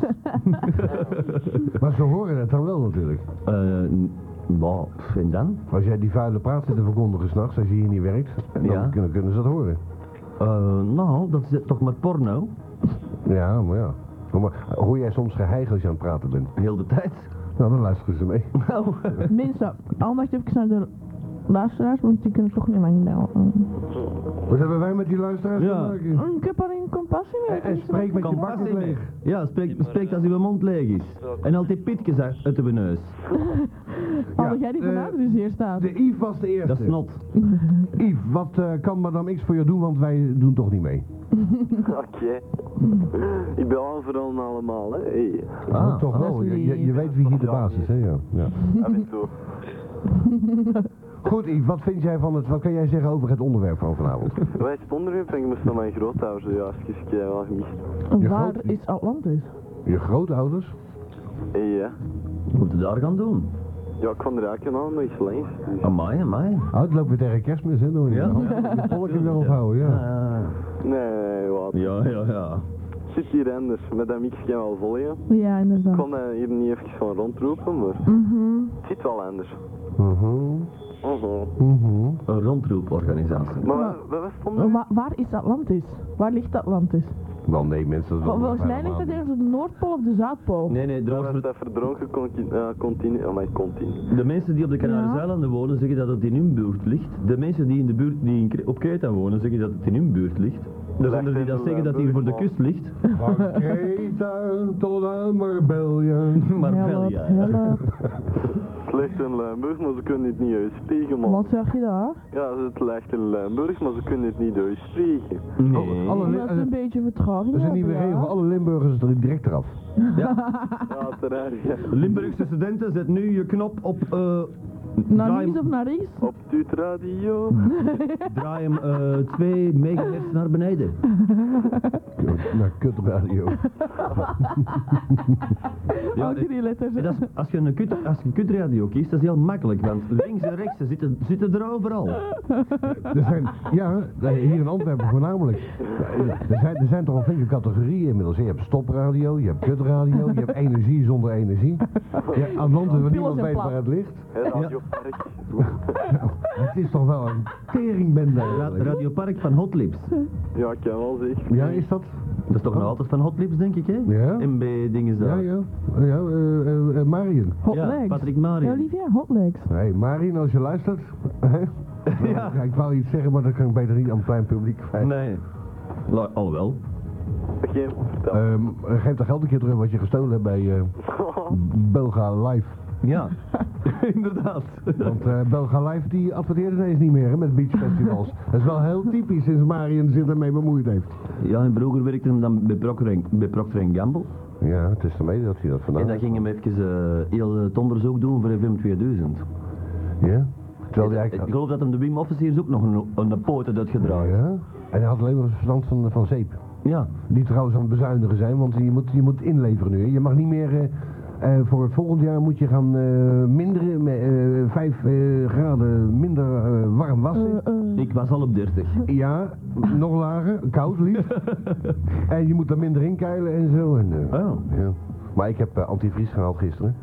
[SPEAKER 3] maar ze horen het dan wel natuurlijk.
[SPEAKER 4] Eh, n- wauw, pff, en dan?
[SPEAKER 3] Als jij die vuile praat zit te verkondigen s'nachts, als je hier niet werkt, dan
[SPEAKER 4] Ja.
[SPEAKER 3] kunnen, kunnen ze dat horen.
[SPEAKER 4] Eh, nou, dat is toch maar porno?
[SPEAKER 3] Ja, maar ja. Maar hoor jij soms geheig als je aan het praten bent?
[SPEAKER 4] Heel de tijd.
[SPEAKER 3] Nou, dan luisteren ze mee.
[SPEAKER 4] Nou,
[SPEAKER 2] Mensen, aandacht even naar de luisteraars, want die kunnen toch niet lang bellen.
[SPEAKER 3] Wat hebben wij met die luisteraars
[SPEAKER 4] Ja.
[SPEAKER 3] te maken?
[SPEAKER 2] Ik heb alleen compassie mee.
[SPEAKER 3] En, en spreek met je bakken leeg.
[SPEAKER 4] ja, spreekt spreekt als uw mond leeg is. En al die pitjes uit uit uw neus.
[SPEAKER 2] Oh, dat jij die
[SPEAKER 3] eh,
[SPEAKER 2] vanuit dus hier staat.
[SPEAKER 3] De Yves was de eerste.
[SPEAKER 4] Dat is not.
[SPEAKER 3] Yves, wat eh, kan madame X voor je doen, want wij doen toch niet mee.
[SPEAKER 8] Oké.
[SPEAKER 4] Hm.
[SPEAKER 8] Ik bel overal en allemaal, hè. Hey.
[SPEAKER 3] Ah,
[SPEAKER 4] Oh,
[SPEAKER 3] toch wel.
[SPEAKER 2] dat is
[SPEAKER 3] Je, je, je
[SPEAKER 2] lief.
[SPEAKER 3] weet wie hier de baas is, hè? Ja. Ja.
[SPEAKER 8] Af en toe.
[SPEAKER 3] Goed, Yves, wat vind jij van het, wat kan jij zeggen over het onderwerp van vanavond?
[SPEAKER 8] Wij stonden erop en ik moest naar mijn grootouders zojuist. Dus ik heb wel gemist.
[SPEAKER 3] je
[SPEAKER 2] Waar
[SPEAKER 3] groot-
[SPEAKER 2] is Atlantis?
[SPEAKER 3] Je grootouders?
[SPEAKER 8] Hey, ja.
[SPEAKER 4] Moet je daar gaan doen?
[SPEAKER 8] Ja, ik kwam er eigenlijk aan, nog eens langs. Dus.
[SPEAKER 4] Amai, amai.
[SPEAKER 3] Oh, het loopt weer tegen kerstmis, hè? Dan
[SPEAKER 4] Ja.
[SPEAKER 3] Je polken weer ophouden, ja.
[SPEAKER 4] Ah,
[SPEAKER 8] Nee, wat.
[SPEAKER 4] ja, ja, ja.
[SPEAKER 8] Zit hier anders. Met dat mix kan je wel volgen.
[SPEAKER 2] Ja,
[SPEAKER 8] Ik
[SPEAKER 2] inderdaad.
[SPEAKER 8] kon daar hier niet even van rondroepen, maar
[SPEAKER 2] Mhm.
[SPEAKER 8] het zit wel anders.
[SPEAKER 3] Mhm,
[SPEAKER 8] Mhm.
[SPEAKER 3] mhm.
[SPEAKER 4] Een rondroeporganisatie.
[SPEAKER 8] Maar waar- waar- waar stonden we?
[SPEAKER 2] Wa- waar is Atlantis? Waar ligt Atlantis?
[SPEAKER 3] Wel nee, mensen, dat is wel
[SPEAKER 2] Vol- volgens mij ligt dat ergens op de Noordpool of de Zuidpool.
[SPEAKER 4] Nee, nee,
[SPEAKER 8] Waar was
[SPEAKER 4] trouwens,
[SPEAKER 8] dat verdronken continu, eh, continu, amai, continu.
[SPEAKER 4] de mensen die op de Canarische
[SPEAKER 2] Ja.
[SPEAKER 4] eilanden wonen zeggen dat het in hun buurt ligt. De mensen die, in de buurt, die in, Kre- op Kreta wonen zeggen dat het in hun buurt ligt. Er zijn er die dat zeggen dat het hier voor de kust ligt.
[SPEAKER 3] Van Kreta tot aan Marbella.
[SPEAKER 4] Maar wel,
[SPEAKER 2] help,
[SPEAKER 4] ja.
[SPEAKER 2] help.
[SPEAKER 8] Het ligt in Limburg, maar ze kunnen het niet uitspreken, man.
[SPEAKER 2] Wat zeg je daar?
[SPEAKER 8] Ja, het ligt in Limburg, maar ze kunnen het niet uitspreken.
[SPEAKER 4] Nee.
[SPEAKER 3] Alle li-
[SPEAKER 2] Omdat ze een beetje vertraging
[SPEAKER 3] dat is een
[SPEAKER 2] hebben,
[SPEAKER 3] nieuwe
[SPEAKER 2] ja.
[SPEAKER 3] regel. Alle Limburgers er direct eraf.
[SPEAKER 8] Ja, terwijl, ja.
[SPEAKER 4] Limburgse studenten, zet nu je knop op. eh
[SPEAKER 2] Naar
[SPEAKER 4] draai,
[SPEAKER 2] links
[SPEAKER 4] hem,
[SPEAKER 2] of naar rechts?
[SPEAKER 8] Op Tuut Radio.
[SPEAKER 4] draai hem eh, 2 megahertz naar beneden.
[SPEAKER 3] Kut, nou, Naar kutradio.
[SPEAKER 4] eh, Ja,
[SPEAKER 2] Ook
[SPEAKER 4] nee.
[SPEAKER 2] drie letters.
[SPEAKER 4] En dat is- als je een kut, als je een kutradio kiest, dat is heel makkelijk, want links en rechts ze zitten, zitten er overal.
[SPEAKER 3] Er zijn, ja, hier in Antwerpen voornamelijk. Er zijn, er zijn toch al flinke categorieën inmiddels. Je hebt stopradio, je hebt kutradio, je hebt energie zonder energie. Je hebt Atlantis waar niemand
[SPEAKER 2] en
[SPEAKER 3] weet
[SPEAKER 2] plat.
[SPEAKER 3] waar het ligt.
[SPEAKER 8] Het radiopark.
[SPEAKER 3] Het is toch wel een teringbende
[SPEAKER 4] Ra
[SPEAKER 3] eigenlijk.
[SPEAKER 4] Radio Park van Hot Lips.
[SPEAKER 8] Ja, ik kan wel zeggen.
[SPEAKER 3] Ja, is dat?
[SPEAKER 4] Dat is toch nog altijd van Hot Lips, denk ik, hè?
[SPEAKER 3] Ja.
[SPEAKER 4] MB dingen
[SPEAKER 3] Ja,
[SPEAKER 4] daar.
[SPEAKER 3] ja. ja eh, eh, eh, Marion.
[SPEAKER 2] Hot
[SPEAKER 4] Ja,
[SPEAKER 2] legs.
[SPEAKER 4] Patrick Marion.
[SPEAKER 2] Ja, Olivia, hot legs.
[SPEAKER 3] Hé, hey, Marion, als je luistert. hè? Ja, ik wou iets zeggen, maar dat kan ik beter niet aan het klein publiek. kwijt.
[SPEAKER 4] Nee. La- Alhoewel.
[SPEAKER 8] Geen vertel.
[SPEAKER 3] Ehm, geef dat geld een keer terug wat je gestolen hebt bij eh, Belga Live.
[SPEAKER 4] Ja. Inderdaad.
[SPEAKER 3] Want eh, Belga Live die adverteert ineens niet meer hè, met beachfestivals. Dat is wel heel typisch sinds Marion zich ermee bemoeid heeft.
[SPEAKER 4] Ja, en vroeger werkte hem dan bij Procter, bij Procter Gamble.
[SPEAKER 3] Ja, het is ermee dat hij dat
[SPEAKER 4] En
[SPEAKER 3] vandaan
[SPEAKER 4] dan ging hem even eh, heel het onderzoek doen voor FM 2000.
[SPEAKER 3] Ja? Terwijl hij
[SPEAKER 4] eh, Ik
[SPEAKER 3] eigenlijk...
[SPEAKER 4] geloof dat hem de Wim Officiers ook nog een, een poot had
[SPEAKER 3] Oh,
[SPEAKER 4] uitgedraaid.
[SPEAKER 3] ja? En hij had alleen maar het verstand van, van zeep.
[SPEAKER 4] Ja.
[SPEAKER 3] Die trouwens aan het bezuinigen zijn, want je moet, je moet inleveren nu. hè. Je mag niet meer... eh, eh, voor het volgend jaar moet je gaan eh, minderen, met, eh, vijf eh, graden minder eh, warm wassen.
[SPEAKER 2] Eh, eh,
[SPEAKER 4] Ik was al op 30.
[SPEAKER 3] Ja, nog lager, koud liefst. en je moet er minder in keilen en zo. En, eh,
[SPEAKER 4] Oh.
[SPEAKER 3] ja. Maar ik heb eh, antivries gehaald gisteren.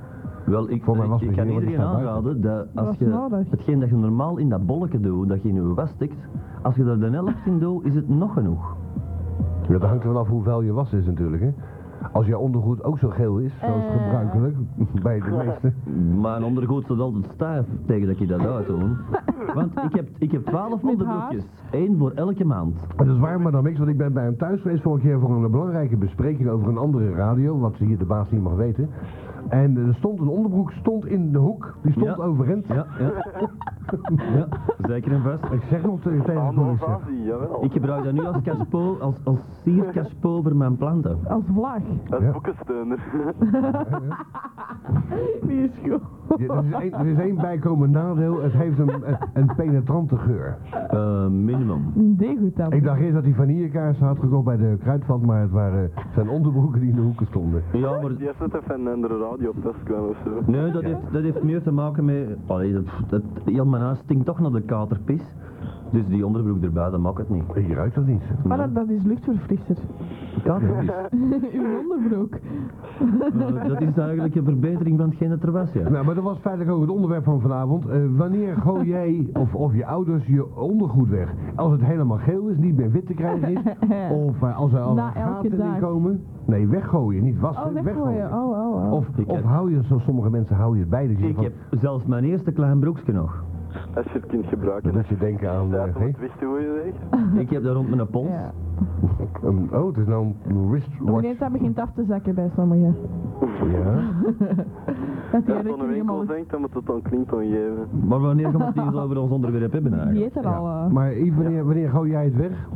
[SPEAKER 4] Wel, ik,
[SPEAKER 3] Voor mij
[SPEAKER 4] ik-
[SPEAKER 3] was
[SPEAKER 4] Eh, ik,
[SPEAKER 3] het
[SPEAKER 4] kan
[SPEAKER 3] hier, want
[SPEAKER 4] iedereen
[SPEAKER 3] ik sta
[SPEAKER 4] aanraden dat als
[SPEAKER 2] was
[SPEAKER 4] je
[SPEAKER 2] nodig.
[SPEAKER 4] hetgeen dat je normaal in dat bolletje doet, dat je in je was stikt, als je er de helft in doet, is het nog genoeg.
[SPEAKER 3] Ja, dat hangt er vanaf hoe vuil je was is natuurlijk, hè. Als jouw ondergoed ook zo geel is, zoals
[SPEAKER 2] Eh.
[SPEAKER 3] gebruikelijk bij de meeste.
[SPEAKER 4] Maar een ondergoed staat altijd stijf tegen dat je dat uitdoet. Want ik heb, ik heb 12
[SPEAKER 2] Met haar?
[SPEAKER 4] onderbroekjes. Eén voor elke maand.
[SPEAKER 3] En dat is waar, maar dan niks, want ik ben bij hem thuis geweest vorige keer voor een belangrijke bespreking over een andere radio, wat hier de baas niet mag weten. En eh, er stond een onderbroek, stond in de hoek, die stond
[SPEAKER 4] Ja.
[SPEAKER 3] overeind.
[SPEAKER 4] Ja, ja. ja. Ze Zeker en vast.
[SPEAKER 3] Ik zeg nog tegen tegen
[SPEAKER 8] Handen
[SPEAKER 3] de
[SPEAKER 8] of Azië, jawel.
[SPEAKER 4] Ik gebruik dat nu als cashpool, als, als siercashpool voor mijn planten.
[SPEAKER 2] Als vlag.
[SPEAKER 8] Dat
[SPEAKER 3] Ja.
[SPEAKER 8] is boekensteuner.
[SPEAKER 2] Die is goed.
[SPEAKER 3] Ja, er, is één, er is één bijkomend nadeel, het heeft een, een- een penetrante geur.
[SPEAKER 4] Eh, minimum.
[SPEAKER 2] Degoutant.
[SPEAKER 3] Ik dacht eerst dat hij vanillekaarsen had gekocht bij de kruidvat, maar het waren zijn onderbroeken die in de hoeken stonden.
[SPEAKER 4] Ja, maar
[SPEAKER 8] Die heeft het even een andere radio op test kwam of zo.
[SPEAKER 4] nee, dat, heeft, dat heeft meer te maken met... Allee, dat, dat, heel mijn huis stinkt toch naar de katerpis. Dus die onderbroek erbij, dat maakt het niet.
[SPEAKER 3] Je ruikt dat niet.
[SPEAKER 2] Maar dat, dat is luchtverfrisser.
[SPEAKER 4] Katerpis.
[SPEAKER 2] Uw onderbroek.
[SPEAKER 4] Eh, dat is eigenlijk een verbetering van hetgeen dat er was, ja.
[SPEAKER 3] Nou, maar dat was feitelijk ook het onderwerp van vanavond. Eh, wanneer gooi jij of, of je ouders je ondergoed weg? Als het helemaal geel is, niet meer wit te krijgen is, of eh, als er al
[SPEAKER 2] Na elke
[SPEAKER 3] gaten in
[SPEAKER 2] dag.
[SPEAKER 3] komen. Nee, weggooien, niet wassen,
[SPEAKER 2] Oh,
[SPEAKER 3] weggooien.
[SPEAKER 2] weggooien. Oh, oh, oh.
[SPEAKER 3] Of,
[SPEAKER 4] Ik
[SPEAKER 3] of
[SPEAKER 4] heb-
[SPEAKER 3] hou je, zoals sommige mensen, hou je het bij. Dus je
[SPEAKER 4] Ik
[SPEAKER 3] van-
[SPEAKER 4] heb zelfs mijn eerste klein broekje nog.
[SPEAKER 8] Als je het kunt gebruiken.
[SPEAKER 3] Dat je denken aan...
[SPEAKER 8] Ja,
[SPEAKER 3] eh,
[SPEAKER 8] om het weg te gooien,
[SPEAKER 2] Ah,
[SPEAKER 8] zeg.
[SPEAKER 4] Ik heb dat rond mijn pols.
[SPEAKER 2] Ja. Oh,
[SPEAKER 3] hè? Een- oh, het is nou een wristwatch.
[SPEAKER 2] Wanneer dat begint af te zakken bij sommigen.
[SPEAKER 3] Ja.
[SPEAKER 2] Dat die
[SPEAKER 8] Als je
[SPEAKER 2] rek
[SPEAKER 8] aan de
[SPEAKER 2] helemaal...
[SPEAKER 8] winkel denkt, dan moet het dan klinkt geven.
[SPEAKER 4] Maar wanneer gaan we het hier over ons onderwerp hebben
[SPEAKER 2] Die
[SPEAKER 4] eigenlijk?
[SPEAKER 2] eet er al. eh.
[SPEAKER 3] Maar Yves, wanneer, wanneer gooi jij het weg?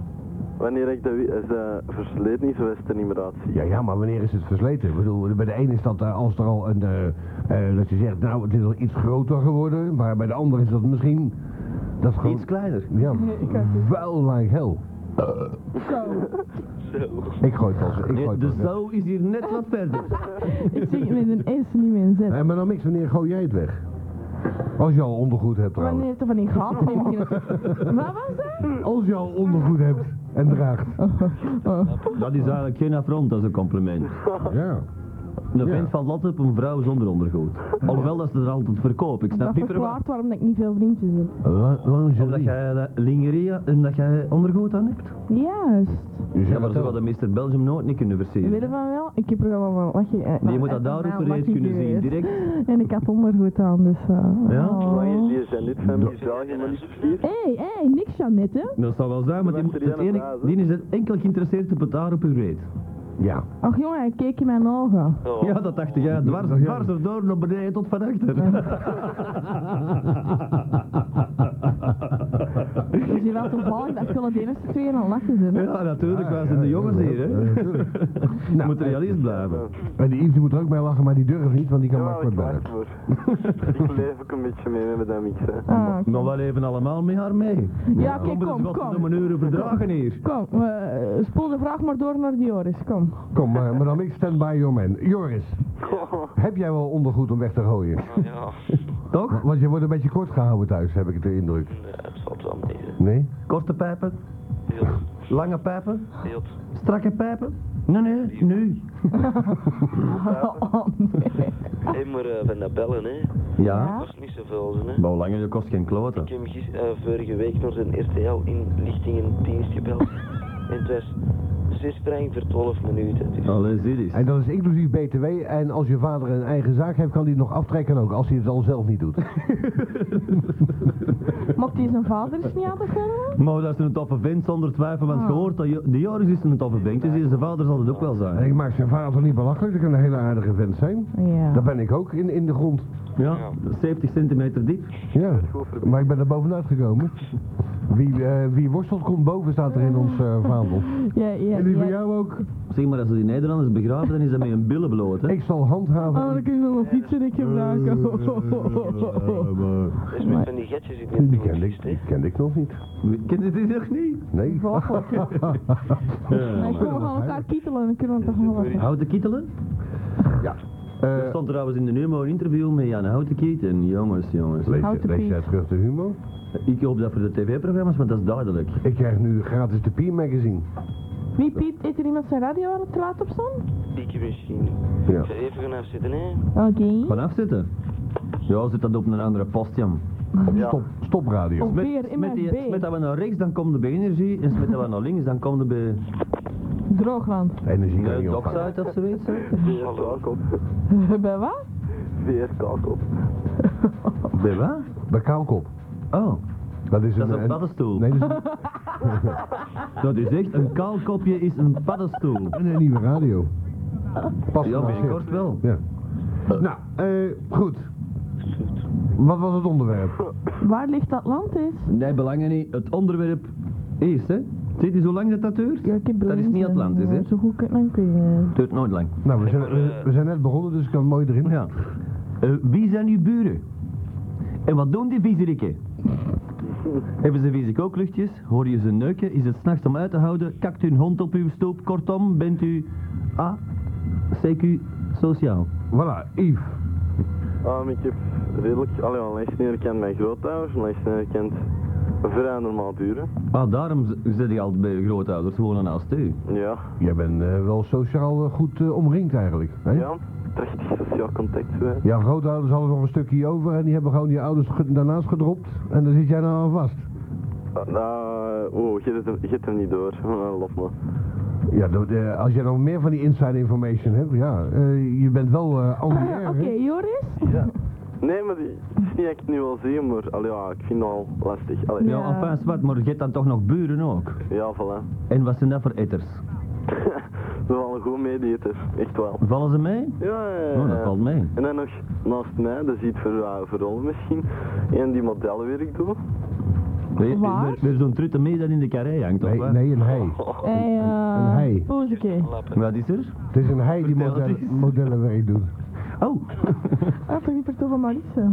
[SPEAKER 8] Wanneer ik dat wi- als dat versleten is, dan is het er niet meer uitzien.
[SPEAKER 3] Ja, ja, maar wanneer is het versleten? Ik bedoel, bij de ene is dat eh, als er al een... eh, eh, dat je zegt, nou, het is al iets groter geworden. Maar bij de andere is dat misschien... Dat is gewoon...
[SPEAKER 4] Iets kleiner.
[SPEAKER 3] Ja,
[SPEAKER 2] Ik had het.
[SPEAKER 3] vuil like hell.
[SPEAKER 2] Zo.
[SPEAKER 3] Ik gooi het als... Ik gooi
[SPEAKER 4] Ja,
[SPEAKER 3] het
[SPEAKER 4] De
[SPEAKER 3] als
[SPEAKER 4] zou is hier net wat verder.
[SPEAKER 2] Ik zie het met een S niet meer een Z.
[SPEAKER 3] Eh, maar dan niks, wanneer gooi jij het weg? Als je al ondergoed hebt trouwens.
[SPEAKER 2] Wanneer het er van die gaten in beginnen te- Wat was dat?
[SPEAKER 3] Als je al ondergoed hebt en draagt.
[SPEAKER 4] Dat is eigenlijk geen affront, dat is een compliment.
[SPEAKER 3] Ja.
[SPEAKER 4] Een vent valt lot op een vrouw zonder ondergoed. Alhoewel dat ze er altijd verkopen. Ik snap
[SPEAKER 2] Dat
[SPEAKER 4] niet meer
[SPEAKER 2] verklaart waarom dat ik niet veel vriendjes heb.
[SPEAKER 3] La-
[SPEAKER 4] Omdat
[SPEAKER 3] Lingerie.
[SPEAKER 4] jij dat lingerie, eh, omdat jij ondergoed aan hebt.
[SPEAKER 2] Juist.
[SPEAKER 3] Je
[SPEAKER 4] Ja,
[SPEAKER 3] zegt
[SPEAKER 4] maar
[SPEAKER 3] het
[SPEAKER 4] zo
[SPEAKER 3] wel.
[SPEAKER 4] had de meester Belgium nooit niet kunnen
[SPEAKER 2] We
[SPEAKER 4] versieren.
[SPEAKER 2] willen van wel. Ik heb er wel wat lachje. eh,
[SPEAKER 4] Maar je
[SPEAKER 2] nou,
[SPEAKER 4] moet dat
[SPEAKER 2] echt
[SPEAKER 4] daar
[SPEAKER 2] wel
[SPEAKER 4] ook reeds
[SPEAKER 2] lachje
[SPEAKER 4] kunnen zien,
[SPEAKER 2] geweest.
[SPEAKER 4] direct.
[SPEAKER 2] En ik had ondergoed aan, dus... eh,
[SPEAKER 4] Ja?
[SPEAKER 2] oh.
[SPEAKER 8] Zolang je die zijn niet van die België, maar niet verkeerd.
[SPEAKER 2] Hé, hé, niks Jeannette. hè?
[SPEAKER 4] Dat zou wel zijn, maar die, moet- het enige- die is enkel geïnteresseerd op het haar op uw reet.
[SPEAKER 3] Ja.
[SPEAKER 2] Ach jongen, hij keek in mijn ogen.
[SPEAKER 4] Ja, dat dacht jij. Dwars,
[SPEAKER 3] Ja.
[SPEAKER 4] dwars erdoor, naar beneden tot van achter.
[SPEAKER 2] Dus je wel toevallig dat ik wel de eerste twee aan het lachen zijn.
[SPEAKER 4] Ja, natuurlijk, wij
[SPEAKER 3] Ah,
[SPEAKER 4] zijn
[SPEAKER 3] ja,
[SPEAKER 4] de jongens
[SPEAKER 3] ja,
[SPEAKER 4] hier,
[SPEAKER 3] ja,
[SPEAKER 4] hè.
[SPEAKER 3] ja, natuurlijk.
[SPEAKER 4] Je moet realist blijven.
[SPEAKER 3] En die Yves die moet er ook bij lachen, maar die durft niet, want die kan maar
[SPEAKER 8] Jawel,
[SPEAKER 3] kort
[SPEAKER 8] ik wacht
[SPEAKER 3] buiten.
[SPEAKER 8] voor. Ik leef ook een beetje mee met dat mix, hè.
[SPEAKER 2] Ah, oké.
[SPEAKER 4] Maar wel even allemaal met haar mee.
[SPEAKER 2] Ja, oké,
[SPEAKER 4] We moeten
[SPEAKER 2] kom,
[SPEAKER 4] wat
[SPEAKER 2] kom.
[SPEAKER 4] om een uur verdragen hier.
[SPEAKER 2] Kom, we spoel de vraag maar door naar Dioris, kom.
[SPEAKER 3] Kom, maar madame, ik stand by your man. Joris, heb jij wel ondergoed om weg te gooien?
[SPEAKER 9] Ja,
[SPEAKER 4] Toch?
[SPEAKER 3] Want je wordt een beetje kort gehouden thuis, heb ik de indruk.
[SPEAKER 9] nee, het valt wel mee.
[SPEAKER 3] Nee?
[SPEAKER 4] Korte pijpen,
[SPEAKER 9] Heel,
[SPEAKER 4] lange pijpen,
[SPEAKER 9] heel.
[SPEAKER 4] strakke pijpen. Nee, nee, nu.
[SPEAKER 2] Oh, nee.
[SPEAKER 9] Hé, maar eh, van dat bellen, hè.
[SPEAKER 4] Ja?
[SPEAKER 9] kost niet zoveel, hè.
[SPEAKER 4] Maar hoe langer, dat kost geen kloten.
[SPEAKER 9] Ik heb gis, eh, vorige week naar zijn RTL-inlichtingendienst gebeld. en het was zes frank voor 12 minuten. Dus.
[SPEAKER 4] Allee, zie eens.
[SPEAKER 3] En dat is inclusief BTW. En als je vader een eigen zaak heeft, kan die het nog aftrekken ook, als hij het al zelf niet doet.
[SPEAKER 2] Mocht hij zijn vader eens niet aan te gaan?
[SPEAKER 4] Maar dat is een toffe vent zonder twijfel,
[SPEAKER 3] Ah.
[SPEAKER 4] want je hoort dat Jo- de Joris is een toffe vent, dus die- zijn vader zal het ook wel
[SPEAKER 3] En
[SPEAKER 4] zijn.
[SPEAKER 3] ik maak zijn vader niet belachelijk, dat kan een hele aardige vent zijn. Dat
[SPEAKER 2] Ja.
[SPEAKER 3] ben ik ook, in, in de grond.
[SPEAKER 4] Ja, 70 centimeter diep.
[SPEAKER 3] Ja, maar ik ben er bovenuit gekomen. Wie, eh, wie worstelt komt boven, staat er in ons eh, vaandel.
[SPEAKER 2] Ja, ja,
[SPEAKER 3] En die van
[SPEAKER 2] ja.
[SPEAKER 3] jou ook.
[SPEAKER 4] Zeg maar, als ze die Nederlanders begraven, dan is dat met een billen bloot, hè.
[SPEAKER 3] Ik zal handhaven.
[SPEAKER 2] Oh, dan kun je nog een fietsenrik gebruiken.
[SPEAKER 9] Dat is met van die getjes in
[SPEAKER 3] Die
[SPEAKER 9] het
[SPEAKER 3] kende ik, die kende ik nog niet.
[SPEAKER 4] Ken je dit nog niet?
[SPEAKER 2] Nee,
[SPEAKER 3] Nee.
[SPEAKER 2] kom, we gaan elkaar kietelen en dan kunnen we het toch wel lachen.
[SPEAKER 4] Houten kietelen? Er
[SPEAKER 3] Eh,
[SPEAKER 4] stond trouwens in de Numo een interview met Jan Houtenkiet en jongens, jongens.
[SPEAKER 3] lees,
[SPEAKER 2] Houten
[SPEAKER 3] lees
[SPEAKER 2] Piet.
[SPEAKER 3] jij terug de humor?
[SPEAKER 4] Ik hoop dat voor de tv-programma's, want dat is duidelijk.
[SPEAKER 3] Ik krijg nu gratis de P-magazine.
[SPEAKER 2] Wie Piet, eet er iemand zijn radio aan het te laat op staan?
[SPEAKER 9] Ik misschien.
[SPEAKER 3] Ja.
[SPEAKER 9] Ik ga even gaan afzitten, hè.
[SPEAKER 2] Oké.
[SPEAKER 4] Vanaf zitten? Ja, zit dat op een andere post, Jan.
[SPEAKER 3] Stop, stop radio.
[SPEAKER 2] Op weer in
[SPEAKER 4] Met,
[SPEAKER 2] mijn
[SPEAKER 4] die, met
[SPEAKER 2] B.
[SPEAKER 4] dat we naar rechts, dan komt de bij energie, en met dat we naar links, dan komt de bij
[SPEAKER 2] Droogland.
[SPEAKER 3] Energie kan
[SPEAKER 4] uh,
[SPEAKER 3] niet
[SPEAKER 4] docs
[SPEAKER 3] opvangen.
[SPEAKER 4] uit of zoiets. hè.
[SPEAKER 8] VR-kakop.
[SPEAKER 2] Bij wat?
[SPEAKER 8] VR-kakop.
[SPEAKER 4] Bij wat?
[SPEAKER 3] Bij kaalkop.
[SPEAKER 4] Oh,
[SPEAKER 3] Dat is
[SPEAKER 4] dat is
[SPEAKER 3] een...
[SPEAKER 4] een paddenstoel.
[SPEAKER 3] Nee, dat is een-
[SPEAKER 4] Dat is echt, een kaalkopje is een paddenstoel.
[SPEAKER 3] een, nieuwe radio. Pas
[SPEAKER 4] Ja,
[SPEAKER 3] op.
[SPEAKER 4] binnenkort wel.
[SPEAKER 3] Ja. Nou, eh, goed. Wat was het onderwerp?
[SPEAKER 2] Waar ligt Atlantis?
[SPEAKER 4] Nee, belangen niet. Het onderwerp eerst, hè. Zit je zo lang dat dat duurt?
[SPEAKER 2] Ja, ik heb
[SPEAKER 4] Dat is
[SPEAKER 2] blind,
[SPEAKER 4] niet
[SPEAKER 2] eh,
[SPEAKER 4] Atlantis, hè?
[SPEAKER 2] Zo goed kan kun je.
[SPEAKER 4] Duurt nooit lang.
[SPEAKER 3] Nou, we zijn, we, we zijn net begonnen, dus ik kan mooi erin.
[SPEAKER 4] Ja. Eh, wie zijn uw buren? En wat doen die viezerikken? Hebben ze vieze kookluchtjes? Hoor je ze neuken? Is het s'nachts om uit te houden? Kakt hun hond op uw stoep? Kortom, bent u A, CQ, sociaal.
[SPEAKER 3] Voilà, Yves.
[SPEAKER 8] Ah, ik heb redelijk, allee, al echt niet herkend mijn grootouders, al echt niet herkend vrij normaal buren.
[SPEAKER 4] Ah, daarom z- zit ik altijd bij je grootouders wonen naast u.
[SPEAKER 8] Ja,
[SPEAKER 4] Hm?
[SPEAKER 3] Jij bent eh, wel sociaal eh, goed eh, omringd eigenlijk. Hè?
[SPEAKER 8] ja, echt sociaal contact zijn.
[SPEAKER 3] Jouw grootouders hadden nog een stukje over en die hebben gewoon die ouders ge- daarnaast gedropt. En daar zit jij nou aan vast.
[SPEAKER 8] Ah, nou, oh, je hebt hem- je hebt hem niet door, Ah, lof maar.
[SPEAKER 3] Ja, dat- eh, als jij nog meer van die inside information hebt, ja. eh, je bent wel eh on the
[SPEAKER 2] Ah,
[SPEAKER 3] air,
[SPEAKER 2] Oké,
[SPEAKER 3] hè?
[SPEAKER 2] Joris?
[SPEAKER 8] Nee, maar die het is niet dat ik het nu wil zien, maar allee, ja, ik vind het al lastig. Allee,
[SPEAKER 4] Ja, alvast wat, maar je hebt dan toch nog buren ook.
[SPEAKER 8] ja, voilà.
[SPEAKER 4] En wat zijn dat voor etters?
[SPEAKER 8] We waren goed meedeeters, echt wel.
[SPEAKER 4] Vallen ze mee?
[SPEAKER 8] Ja, ja, ja.
[SPEAKER 4] Oh, dat valt mee.
[SPEAKER 8] En dan nog naast mij, dat ziet voor, uh, voor Rolf misschien, en die modellenwerk doet.
[SPEAKER 4] Weer,
[SPEAKER 2] Waar?
[SPEAKER 4] weer, weer zo'n trutte mee dat in de carré hangt, of
[SPEAKER 3] Nee,
[SPEAKER 4] wat?
[SPEAKER 3] nee, een hij.
[SPEAKER 2] Hey,
[SPEAKER 3] een hij.
[SPEAKER 2] eh. Poeseke.
[SPEAKER 4] Wat is er?
[SPEAKER 3] Het is een hij die
[SPEAKER 4] Vertel het
[SPEAKER 3] modellen, modellenwerk doet.
[SPEAKER 4] Oh,
[SPEAKER 2] Ah, toch niet per toeval Marissa.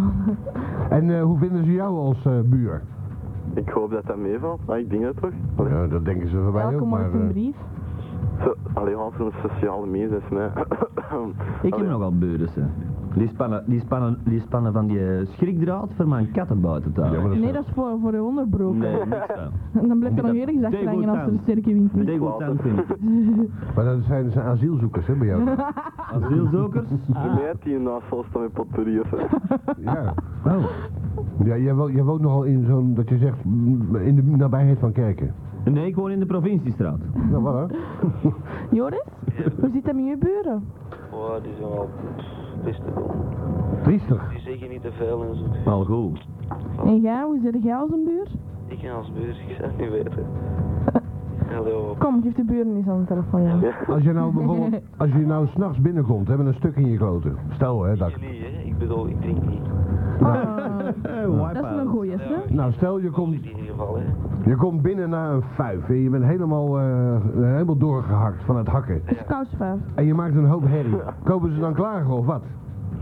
[SPEAKER 3] En eh, hoe vinden ze jou als eh, buur?
[SPEAKER 8] Ik hoop dat dat meevalt, ah, ik denk dat toch? Allee,
[SPEAKER 3] Ja, dat denken ze voor mij
[SPEAKER 2] Elke
[SPEAKER 3] ook, maar...
[SPEAKER 2] morgen een
[SPEAKER 3] eh,
[SPEAKER 2] brief.
[SPEAKER 8] zo, allee als een sociale mens is mij.
[SPEAKER 3] Ah.
[SPEAKER 4] ik
[SPEAKER 3] Oh,
[SPEAKER 4] heb
[SPEAKER 8] Allee.
[SPEAKER 4] nogal buren, ze. Die spannen, die, spannen, die spannen van die eh, schrikdraad voor mijn katten buiten te houden.
[SPEAKER 3] ja, maar dat
[SPEAKER 2] Nee, dat
[SPEAKER 3] zijn-
[SPEAKER 2] is voor, voor de onderbroken.
[SPEAKER 4] Nee, niks van.
[SPEAKER 2] En dan blijft er
[SPEAKER 4] Dat-
[SPEAKER 2] nog ergens achter hangen als er een sterke wind is.
[SPEAKER 4] They will dance in.
[SPEAKER 3] Maar dat zijn, zijn asielzoekers, hè, bij jou?
[SPEAKER 4] Asielzokers?
[SPEAKER 8] Voor mij had die naast vol staan met potpourri of zo.
[SPEAKER 3] ja.
[SPEAKER 4] Oh.
[SPEAKER 3] ja jij, wo- jij woont nogal in zo'n, dat je zegt, mm, in de nabijheid van kerken.
[SPEAKER 4] Nee, ik woon in de provinciestraat.
[SPEAKER 3] Nou, voilà.
[SPEAKER 2] Joris? Hoe zit dat met je buren?
[SPEAKER 9] Oh, die zijn wel best te doen.
[SPEAKER 3] Triestig.
[SPEAKER 9] Die zeggen niet te veel en zo.
[SPEAKER 4] Al goed. Oh.
[SPEAKER 2] En jij, hoe zit jij als een buur?
[SPEAKER 9] Ik ben als beurs, ik zou het niet weten. Hallo.
[SPEAKER 2] Kom, geef de buren eens aan de telefoon. Ja.
[SPEAKER 3] Als je nou bijvoorbeeld, als je nou s'nachts binnenkomt, hebben een stuk in je kloten. Stel, hè, dat...
[SPEAKER 9] Jullie, hè? Ik bedoel, ik drink niet.
[SPEAKER 2] Ah, dat is een
[SPEAKER 4] out.
[SPEAKER 2] goeie, hè?
[SPEAKER 3] Nou, stel, je
[SPEAKER 9] Kom.
[SPEAKER 3] komt
[SPEAKER 9] In ieder geval, hè?
[SPEAKER 3] Je komt binnen na een fuif en je bent helemaal, eh, helemaal doorgehakt van het hakken.
[SPEAKER 2] Dat is koudsvijf.
[SPEAKER 3] En je maakt een hoop herrie. Komen ze dan klagen of wat?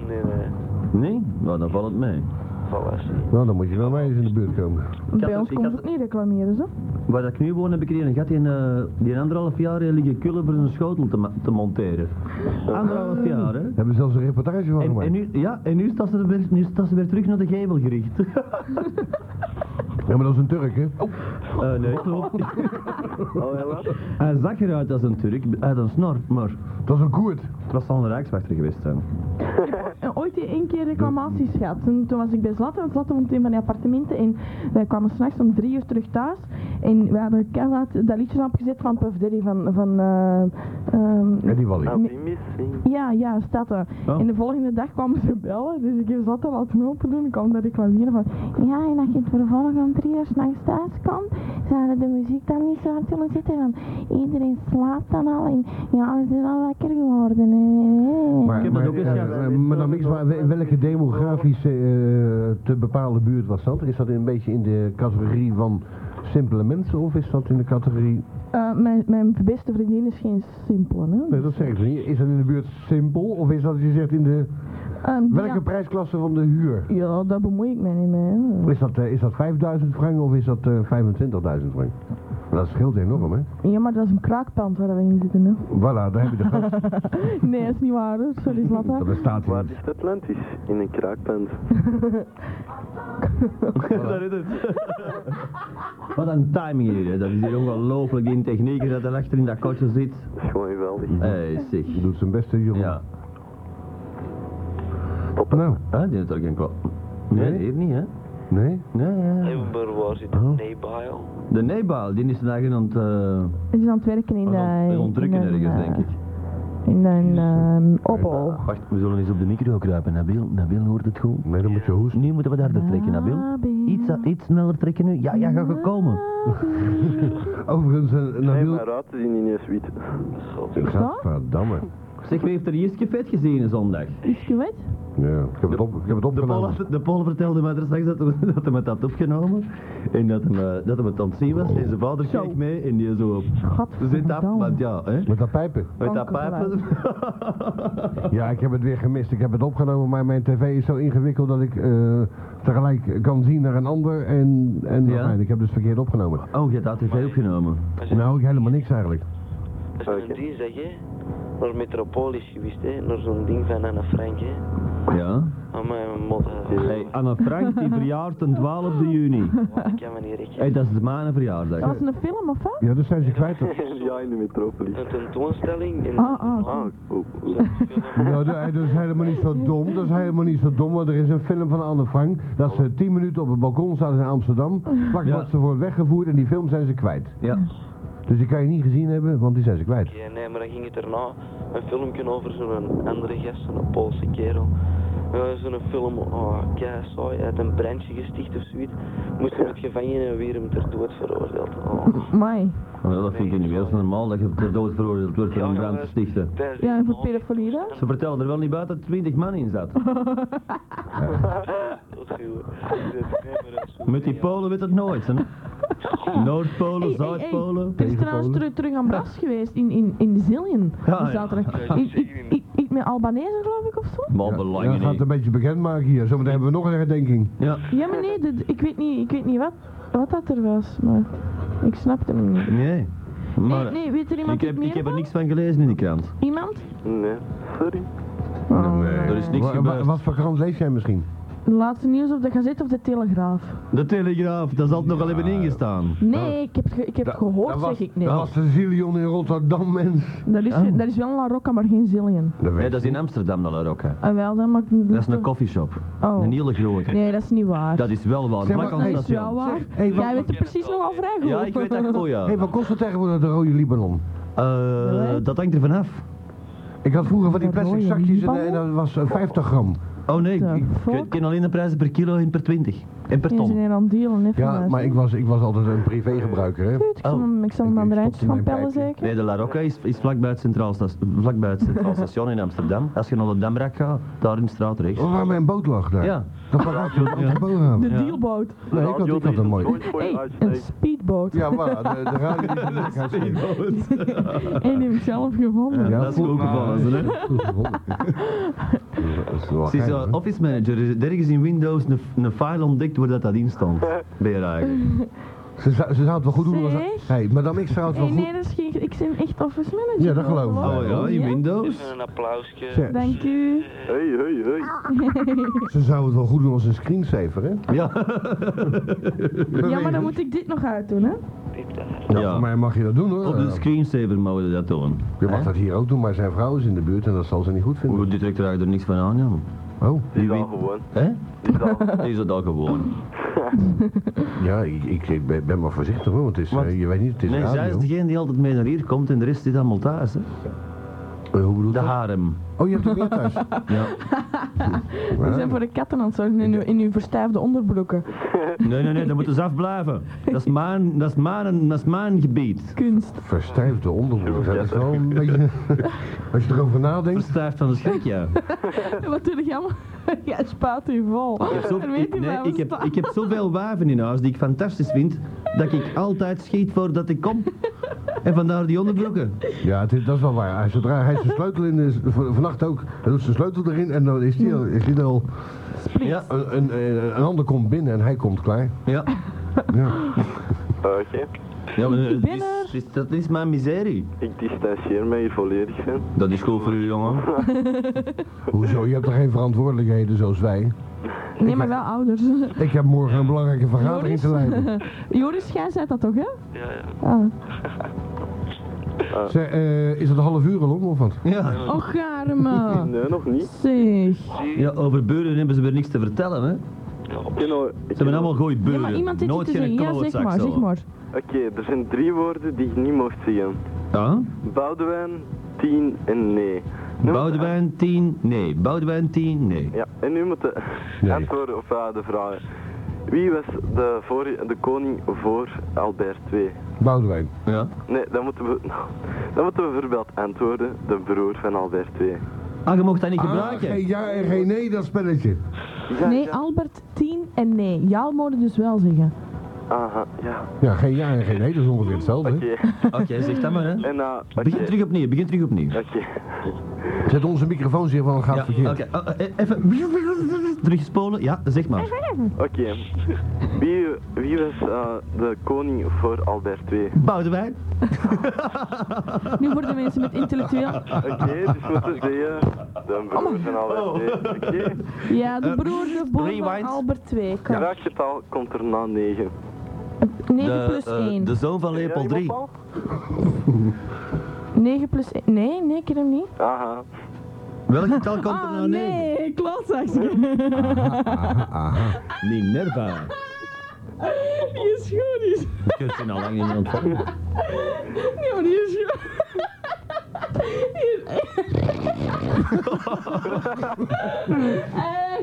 [SPEAKER 9] Nee, nee.
[SPEAKER 4] Nee? Nou, dan valt het mee.
[SPEAKER 9] Voilà,
[SPEAKER 3] Nou, dan moet je wel mij eens in de buurt komen.
[SPEAKER 2] Bij
[SPEAKER 4] had-
[SPEAKER 2] ons
[SPEAKER 4] ik
[SPEAKER 2] komt
[SPEAKER 4] had-
[SPEAKER 2] het niet reclameren, zo.
[SPEAKER 4] Waar dat ik nu woon heb ik hier een gat in, eh, die anderhalf jaar eh, liggen kullen voor een schotel te, ma- te monteren. Anderhalf jaar, hè?
[SPEAKER 3] Daar hebben ze zelfs een reportage van
[SPEAKER 4] En,
[SPEAKER 3] gemaakt.
[SPEAKER 4] en nu, ja, en nu staat, ze weer, nu staat ze weer terug naar de gevel gericht.
[SPEAKER 3] Ja, maar dat is een Turk, hè?
[SPEAKER 4] Eh, nee, klopt.
[SPEAKER 8] Oh, ja, wat?
[SPEAKER 4] Hij zag eruit als een Turk, eh, uit een snor, maar
[SPEAKER 3] Dat is een Koert.
[SPEAKER 4] het was al een rijkswachter geweest zijn.
[SPEAKER 2] En ooit één keer reclamaties gehad. Toen, toen was ik bij Zlatten, want Zlatten woont in een van die appartementen. En wij kwamen s'nachts om drie uur terug thuis. En we hadden keihard dat liedje opgezet van Puff Daddy van... van eh, ehm,
[SPEAKER 3] En die Wally.
[SPEAKER 8] Nou, die missing.
[SPEAKER 2] ja, ja, staat er.
[SPEAKER 4] Oh.
[SPEAKER 2] En de volgende dag kwamen ze bellen, dus ik heb zat al wat open doen. Ik kwam daar reclameren van, ja, en als je het vervolgens om drie uur s'nachts thuis komt, zouden de muziek dan niet zo hard willen zitten, want iedereen slaapt dan al en ja, we zijn al wakker geworden. hè."
[SPEAKER 4] Ik
[SPEAKER 3] Maar,
[SPEAKER 4] heb
[SPEAKER 3] maar,
[SPEAKER 4] dat ook eens
[SPEAKER 3] eh,
[SPEAKER 4] gehad.
[SPEAKER 3] eh, maar dan niks, maar wel- welke demografische eh, te bepaalde buurt was dat? Is dat een beetje in de categorie van simpele mensen of is dat in de categorie...
[SPEAKER 2] Eh, mijn, mijn beste vriendin is geen simpele, hè.
[SPEAKER 3] Nee, dat zeg ik niet. Is dat in de buurt simpel of is dat, je zegt, in de...
[SPEAKER 2] Ehm, die
[SPEAKER 3] Welke prijsklasse van de huur?
[SPEAKER 2] had- Ja, daar bemoei ik mij niet mee. hè.
[SPEAKER 3] Is dat, eh, is dat 5000 frank of is dat eh, 25.000 frank? Dat scheelt enorm, hè?
[SPEAKER 2] Ja, maar dat is een kraakpand waar we in zitten, hè.
[SPEAKER 3] Voilà, daar heb je de gast.
[SPEAKER 2] Nee, dat is niet waar, hè. Sorry, Zlatta.
[SPEAKER 3] Dat bestaat hier.
[SPEAKER 8] Waar is het Atlantis? In een kraakpand.
[SPEAKER 4] Daar is het. Wat een timing hier, hè. dat is hier ongelooflijk. Die technieker dat er achter in dat kotje zit.
[SPEAKER 8] Dat is gewoon geweldig.
[SPEAKER 4] Hé, hey, zeg.
[SPEAKER 3] Die doet zijn beste, jongen.
[SPEAKER 4] Ja.
[SPEAKER 3] Nou,
[SPEAKER 4] Ah, die heeft ook geen klap. Nee,
[SPEAKER 3] Nee?
[SPEAKER 4] hier niet, hè?
[SPEAKER 3] nee?
[SPEAKER 4] Nee, ja, ja.
[SPEAKER 9] Ember, waar zit de
[SPEAKER 3] Oh.
[SPEAKER 9] Nebile?
[SPEAKER 4] De Nebaal, die is daar aan het, eh,
[SPEAKER 2] Het is aan het werken in...
[SPEAKER 4] aan
[SPEAKER 2] eh,
[SPEAKER 4] het ontrukken
[SPEAKER 2] in een,
[SPEAKER 4] ergens,
[SPEAKER 2] eh,
[SPEAKER 4] denk ik.
[SPEAKER 2] In een ehm, Oppo.
[SPEAKER 4] Wacht, we zullen eens op de micro kruipen. Nabil, Nabil hoort het goed.
[SPEAKER 3] Nee, dan moet je hoesten.
[SPEAKER 4] Nu moeten we harder trekken, Nabil. Iets, iets sneller trekken nu. Ja, ja, ga gekomen.
[SPEAKER 3] Overigens, eh,
[SPEAKER 8] Nee,
[SPEAKER 3] Nabil...
[SPEAKER 8] maar raad is niet eens wit.
[SPEAKER 9] God.
[SPEAKER 3] Gadverdamme.
[SPEAKER 4] Zeg, wie heeft er Jiske vet gezien zondag?
[SPEAKER 2] Is je weet?
[SPEAKER 3] Ja, ik heb het, op, ik heb het
[SPEAKER 4] De Paul,
[SPEAKER 3] opgenomen.
[SPEAKER 4] de Paul vertelde mij er straks dat, er, dat hij het had opgenomen en dat hij, eh, dat hij het aan het zien was. En zijn vader keek mee en die zo zit af, want ja, hè.
[SPEAKER 3] Met dat pijpen.
[SPEAKER 4] Met dat pijpen.
[SPEAKER 3] Ja, ik heb het weer gemist. Ik heb het opgenomen, maar mijn tv is zo ingewikkeld dat ik eh, tegelijk kan zien naar een ander. En, en
[SPEAKER 4] Ja?
[SPEAKER 3] nee, ik heb dus verkeerd opgenomen.
[SPEAKER 4] Oh, je hebt dat tv opgenomen.
[SPEAKER 3] Nou, ik helemaal niks eigenlijk.
[SPEAKER 9] Dat is een dinsdag, hè? Naar Metropolis geweest, hè? Naar zo'n ding van Anne Frank, hè?
[SPEAKER 4] Ja.
[SPEAKER 9] Aan mijn mot.
[SPEAKER 4] Hey, Anne Frank die verjaart de 12 juni.
[SPEAKER 9] Ik kan me niet rekenen.
[SPEAKER 4] Hey, dat is mijn
[SPEAKER 2] Dat was
[SPEAKER 4] verjaardag.
[SPEAKER 2] een film of wat?
[SPEAKER 3] Ja, dus zijn ze kwijt.
[SPEAKER 8] ja, in de metropolis.
[SPEAKER 9] Een tentoonstelling en
[SPEAKER 2] Ah, ah.
[SPEAKER 8] Ah, oh, oh.
[SPEAKER 3] Ja, dat dat is helemaal niet zo dom. Dat is helemaal niet zo dom, want er is een film van Anne Frank. Dat ze tien minuten op het balkon zaten in Amsterdam. Vlak
[SPEAKER 4] Ja.
[SPEAKER 3] wordt ze voor weggevoerd en die film zijn ze kwijt.
[SPEAKER 4] Ja.
[SPEAKER 3] Dus die kan je niet gezien hebben, want die zijn ze kwijt.
[SPEAKER 9] Ja, nee, maar dan ging het erna een filmpje over zo'n andere gast, zo'n Poolse kerel. Eh, zo'n film, oh, kei saai, uit een brandje gesticht of zoiets. Moest hem het gevangen en weer hem ter dood veroordeeld. Oh.
[SPEAKER 2] Mai.
[SPEAKER 4] Wel, dat vind ik niet meer zo normaal dat je ter dood veroordeeld wordt voor een brand te stichten.
[SPEAKER 9] Tijdens
[SPEAKER 2] Ja, en voor
[SPEAKER 9] de avond
[SPEAKER 2] pedofilie dan?
[SPEAKER 4] Ze vertelden er wel niet buiten dat 20 man in zat.
[SPEAKER 9] tot uw- Nee, maar dat is zo-
[SPEAKER 4] Met die Polen weet het nooit, hè? Noordpolen,
[SPEAKER 2] Hey, hey, hey.
[SPEAKER 4] Zuidpolen.
[SPEAKER 2] Er is trouwens teru- terug aan Bras geweest in, in, in Zillion.
[SPEAKER 4] Ja, ja.
[SPEAKER 2] Zaterdag. I- i- i- Iets met Albanese geloof ik of zo?
[SPEAKER 4] Maar
[SPEAKER 3] Ja, gaat
[SPEAKER 4] belangrijk.
[SPEAKER 3] een beetje bekend maken hier. Zometeen hebben we nog een herdenking.
[SPEAKER 4] Ja.
[SPEAKER 2] Ja, maar nee, dit- ik weet niet, ik weet niet wat, wat dat er was, maar ik snapte hem niet.
[SPEAKER 4] Nee.
[SPEAKER 2] Nee,
[SPEAKER 4] Maar
[SPEAKER 2] nee, weet er iemand
[SPEAKER 4] ik heb,
[SPEAKER 2] iets
[SPEAKER 4] ik
[SPEAKER 2] meer
[SPEAKER 4] heb er
[SPEAKER 2] van?
[SPEAKER 4] niks van gelezen in de krant.
[SPEAKER 2] Iemand?
[SPEAKER 8] Nee, sorry.
[SPEAKER 2] Oh,
[SPEAKER 4] eh, Er is niks
[SPEAKER 3] Wa- wa-
[SPEAKER 4] gebeurd.
[SPEAKER 3] wat voor krant lees jij misschien?
[SPEAKER 2] De laatste nieuws op de gazet of de Telegraaf?
[SPEAKER 4] De Telegraaf, daar zal het nogal hebben ingestaan.
[SPEAKER 2] Nee, ik heb, ge- ik heb gehoord,
[SPEAKER 3] Dat
[SPEAKER 2] zeg
[SPEAKER 3] was-
[SPEAKER 2] ik niet.
[SPEAKER 3] Dat was de Zillion in Rotterdam, mens.
[SPEAKER 2] Dat is, dat is wel La Rocca, maar geen Zillion.
[SPEAKER 4] Nee, dat is in Amsterdam dan ook, hè.
[SPEAKER 2] En wel, dan maakt het niet
[SPEAKER 4] Dat is
[SPEAKER 2] uit.
[SPEAKER 4] een coffeeshop.
[SPEAKER 2] Oh.
[SPEAKER 4] Een hele grote.
[SPEAKER 2] Nee, dat is niet waar.
[SPEAKER 4] Dat is wel waar.
[SPEAKER 3] Zeg maar,
[SPEAKER 4] Maak al
[SPEAKER 2] Dat
[SPEAKER 3] hey,
[SPEAKER 4] dat
[SPEAKER 2] is wel
[SPEAKER 4] wel.
[SPEAKER 2] waar.
[SPEAKER 3] hey, wat-
[SPEAKER 2] Jij weet er precies nogal vrij goed.
[SPEAKER 4] Ja, ik weet dat goed, ja.
[SPEAKER 3] Hé, wat kost het tegenwoordig de rode Libanon?
[SPEAKER 4] Eh, dat hangt er vanaf.
[SPEAKER 3] Ik had vroeger van die
[SPEAKER 2] De
[SPEAKER 3] plastic
[SPEAKER 2] rode
[SPEAKER 3] zakjes en,
[SPEAKER 2] Libanon?
[SPEAKER 3] en dat was eh, 50 gram.
[SPEAKER 4] Oh nee,
[SPEAKER 2] What the
[SPEAKER 4] ik- ik
[SPEAKER 2] fuck?
[SPEAKER 4] ken- ken alleen de prijzen per kilo en per 20. En per
[SPEAKER 2] Ja, ze
[SPEAKER 4] ton.
[SPEAKER 2] zijn aan het dealen, hè,
[SPEAKER 3] Ja,
[SPEAKER 2] vanuit,
[SPEAKER 3] maar
[SPEAKER 2] hè.
[SPEAKER 3] ik was, ik was altijd een privégebruiker, hè.
[SPEAKER 2] Goed, Ik zal
[SPEAKER 4] Oh.
[SPEAKER 2] hem- ik zal hem
[SPEAKER 3] Ik-
[SPEAKER 2] aan de
[SPEAKER 3] ik
[SPEAKER 2] rijtjes
[SPEAKER 3] stopte
[SPEAKER 2] van
[SPEAKER 3] mijn
[SPEAKER 2] pellen
[SPEAKER 3] pijpje.
[SPEAKER 2] zeker.
[SPEAKER 4] Nee, de La Rocca is, is vlakbij het Centraal, Stas- vlakbij het Centraal Station in Amsterdam. Als je naar de Damrak gaat, daar in de straat rechts.
[SPEAKER 3] Waar mijn boot lag daar.
[SPEAKER 4] Ja.
[SPEAKER 3] Dat was altijd een grote boot aan.
[SPEAKER 2] De
[SPEAKER 3] Nee,
[SPEAKER 2] dealboot.
[SPEAKER 3] ik had, ik had een mooi.
[SPEAKER 8] Nooit voor je
[SPEAKER 2] Hey, een
[SPEAKER 8] uitsteekt.
[SPEAKER 2] speedboot.
[SPEAKER 3] Ja, maar de, de radio die de nek uitsteekt.
[SPEAKER 2] En die heb ik zelf gevonden.
[SPEAKER 3] Ja,
[SPEAKER 4] dat is
[SPEAKER 3] goed,
[SPEAKER 4] goed gevallen, hè?
[SPEAKER 3] Goed gevonden. Dat is wel
[SPEAKER 4] Ze is
[SPEAKER 3] geinig,
[SPEAKER 4] eh,
[SPEAKER 3] hè.
[SPEAKER 4] office manager. Er is ergens in Windows een, een file ontdekt waar dat, dat in stond. Ben je eigenlijk.
[SPEAKER 3] Ze zou ze zou het wel goed doen als...
[SPEAKER 2] Zeg.
[SPEAKER 3] Hé, maar dan ik zou het wel
[SPEAKER 2] Hey,
[SPEAKER 3] goed...
[SPEAKER 2] nee, dat is geen, ik ben echt office manager.
[SPEAKER 3] Ja, dat geloof ik.
[SPEAKER 4] Oh ja, in Windows.
[SPEAKER 9] Even een applausje.
[SPEAKER 3] Zeg,
[SPEAKER 2] Dank u.
[SPEAKER 8] Hey, hey, hey.
[SPEAKER 3] Ze zou het wel goed doen als een screensaver, hè?
[SPEAKER 4] Ja.
[SPEAKER 2] Ja, maar dan moet ik dit nog uitdoen, hè?
[SPEAKER 9] Dit daar.
[SPEAKER 3] Ja,
[SPEAKER 4] Ja.
[SPEAKER 3] voor mij mag je dat doen, hoor.
[SPEAKER 4] Op de screensaver mogen we dat doen.
[SPEAKER 3] Je mag dat hier ook doen, maar zijn vrouw is in de buurt en dat zal ze niet goed vinden.
[SPEAKER 4] Hoe die trekt er eigenlijk er niks van aan, ja.
[SPEAKER 3] Oh,
[SPEAKER 8] Die
[SPEAKER 4] Wie-
[SPEAKER 8] dan gewoon.
[SPEAKER 4] Hè?
[SPEAKER 8] Die dan.
[SPEAKER 4] Is dat al gewoon?
[SPEAKER 3] ja, ik, ik, ik ben, ben maar voorzichtig hoor, want het is,
[SPEAKER 4] Wat?
[SPEAKER 3] eh, je weet niet, het is
[SPEAKER 4] Nee, zij is
[SPEAKER 3] radio.
[SPEAKER 4] degene die altijd mee naar hier komt en de rest zit allemaal thuis. Hè?
[SPEAKER 3] Eh, hoe bedoel je
[SPEAKER 4] De
[SPEAKER 3] dat?
[SPEAKER 4] harem.
[SPEAKER 3] Oh, je hebt hem weer thuis.
[SPEAKER 4] Ja.
[SPEAKER 2] We zijn voor de katten aan het zorgen in uw, in uw verstijfde onderbroeken.
[SPEAKER 4] Nee, nee, nee, daar moeten ze afblijven. Dat is mijn, dat is mijn, dat is mijn gebied.
[SPEAKER 2] Kunst.
[SPEAKER 3] Verstijfde onderbroek, dat is wel een beetje... Als je erover nadenkt...
[SPEAKER 4] Verstijfd van de schrik, ja.
[SPEAKER 2] Wat doe je allemaal? Jij spaat u vol.
[SPEAKER 4] Ik heb, zo,
[SPEAKER 2] Dan weet
[SPEAKER 4] ik,
[SPEAKER 2] hij
[SPEAKER 4] nee,
[SPEAKER 2] waar we
[SPEAKER 4] ik, heb,
[SPEAKER 2] staan.
[SPEAKER 4] ik heb zoveel waven in huis die ik fantastisch vind, dat ik altijd schiet voordat ik kom. En vandaar die onderbroeken.
[SPEAKER 3] Ja, het is, dat is wel waar. Hij- Zodra hij zijn sleutel in is, v- vannacht ook, hij doet zijn sleutel erin en dan is hij al, is hij al
[SPEAKER 4] Ja,
[SPEAKER 3] een, een, een, een ander komt binnen en hij komt klaar.
[SPEAKER 4] ja.
[SPEAKER 3] Ja.
[SPEAKER 8] Ah, Oké.
[SPEAKER 4] ja maar, eh,
[SPEAKER 2] Ik ben
[SPEAKER 4] het
[SPEAKER 2] er.
[SPEAKER 4] is, is- dat is mijn miserie.
[SPEAKER 8] Ik distancieer mij hier volledig van.
[SPEAKER 4] Dat is goed voor u, jongen.
[SPEAKER 3] Hoezo, je hebt er geen verantwoordelijkheden zoals wij.
[SPEAKER 2] Nee, maar wel ouders.
[SPEAKER 3] Ik heb morgen een belangrijke vergadering te
[SPEAKER 2] Joris?
[SPEAKER 3] leiden.
[SPEAKER 2] Joris, jij zei dat toch, hè?
[SPEAKER 9] Ja, ja.
[SPEAKER 2] Ah.
[SPEAKER 3] Zeg, eh, is het een half uur al om of wat?
[SPEAKER 4] Ja.
[SPEAKER 2] Och, arme.
[SPEAKER 8] Nee, nog niet.
[SPEAKER 2] Zeg.
[SPEAKER 4] ja, over buren hebben ze weer niks te vertellen, hè.
[SPEAKER 8] Ik ken al- ik
[SPEAKER 4] Ze hebben
[SPEAKER 8] ken al-
[SPEAKER 4] allemaal goeie
[SPEAKER 2] Ja,
[SPEAKER 4] buren.
[SPEAKER 2] maar iemand heeft
[SPEAKER 4] Nooit
[SPEAKER 2] iets te
[SPEAKER 4] geen
[SPEAKER 2] zeggen. Ja, zeg
[SPEAKER 4] klootzaksel.
[SPEAKER 2] maar, zeg maar.
[SPEAKER 8] Oké, er zijn drie woorden die ik niet mocht zeggen.
[SPEAKER 4] Ja?
[SPEAKER 8] Boudewijn, tien en nee. Nu
[SPEAKER 4] Boudewijn 10, nee. Boudewijn 10, nee.
[SPEAKER 8] moet- Ja, en nu moeten
[SPEAKER 3] Nee.
[SPEAKER 8] antwoorden op eh, de vragen. Wie was de, vorige- de koning voor Albert II?
[SPEAKER 3] Boudewijn.
[SPEAKER 4] Ja.
[SPEAKER 8] Nee, dan moeten we, dan moeten we bijvoorbeeld antwoorden, de broer van Albert II.
[SPEAKER 4] Ah, je mocht dat niet
[SPEAKER 3] Ah,
[SPEAKER 4] gebruiken.
[SPEAKER 3] geen ja en geen nee, dat spelletje.
[SPEAKER 2] Nee, Albert, 10 en nee. Ja, mogen dus wel zeggen.
[SPEAKER 8] Aha, ja.
[SPEAKER 3] Ja, geen ja en geen nee, dat is ongeveer hetzelfde.
[SPEAKER 8] Oké.
[SPEAKER 4] Oké, zeg dat maar, hè.
[SPEAKER 8] En nou,
[SPEAKER 4] Begin terug opnieuw, begin terug opnieuw.
[SPEAKER 8] oké.
[SPEAKER 3] Zet onze microfoon zich van gaat
[SPEAKER 4] Ja,
[SPEAKER 3] verkeerd.
[SPEAKER 4] oké. Ah, eh, eh, even terugspolen. Ja, zeg maar.
[SPEAKER 8] Oké. Wie, wie was eh, de koning voor Albert II?
[SPEAKER 4] Boudewijn.
[SPEAKER 2] Nu worden mensen met intellectueel.
[SPEAKER 8] Oké, dus moet ik zeggen, de broer van Albert II. Oké.
[SPEAKER 2] Ja, de broer, de boer van
[SPEAKER 4] rewind.
[SPEAKER 2] Albert 2.
[SPEAKER 8] Welk getal komt er na 9?
[SPEAKER 2] 9 plus
[SPEAKER 4] eh,
[SPEAKER 2] 1.
[SPEAKER 4] de zoon van Leopold 3.
[SPEAKER 2] 9 plus 1. Nee, nee, ik ken hem niet.
[SPEAKER 8] Aha.
[SPEAKER 4] Welk getal komt er
[SPEAKER 2] Ah,
[SPEAKER 4] nou nee?
[SPEAKER 2] nee, klopt, zegt je.
[SPEAKER 4] Minerva.
[SPEAKER 2] Die is goed, die is...
[SPEAKER 4] Je kunt ze al lang niet meer ontvangen.
[SPEAKER 2] Nee, maar die is goed. Die is echt...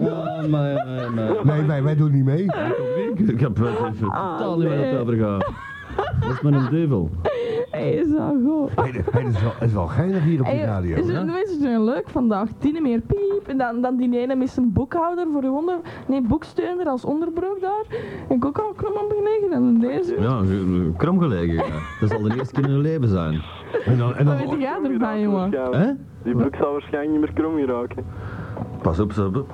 [SPEAKER 4] Ah, maar, maar, maar.
[SPEAKER 3] Nee, wij, wij doen niet mee.
[SPEAKER 4] Ik heb het
[SPEAKER 2] Ah,
[SPEAKER 4] even totaal niet waar het over gaat. Dat is maar een duivel.
[SPEAKER 2] Hij is wel goed.
[SPEAKER 3] Hey, dat hey, dat is, wel, dat is wel geinig hier op de radio.
[SPEAKER 2] Is,
[SPEAKER 3] hè?
[SPEAKER 2] de mensen zijn leuk vandaag. Tien meer piep. En dan, dan die ene met zijn boekhouder voor uw onder... Nee, boeksteuner als onderbroek daar. En ik ook al krom op beneden. En deze.
[SPEAKER 4] Ja, kromgelegen. ja. Dat zal de eerste keer in hun leven zijn.
[SPEAKER 3] En dan, en
[SPEAKER 2] Wat weet
[SPEAKER 3] dan,
[SPEAKER 2] jij ervan, jongen?
[SPEAKER 4] Hè?
[SPEAKER 8] Die broek zal waarschijnlijk niet meer krom geraken.
[SPEAKER 4] Pas op, ze.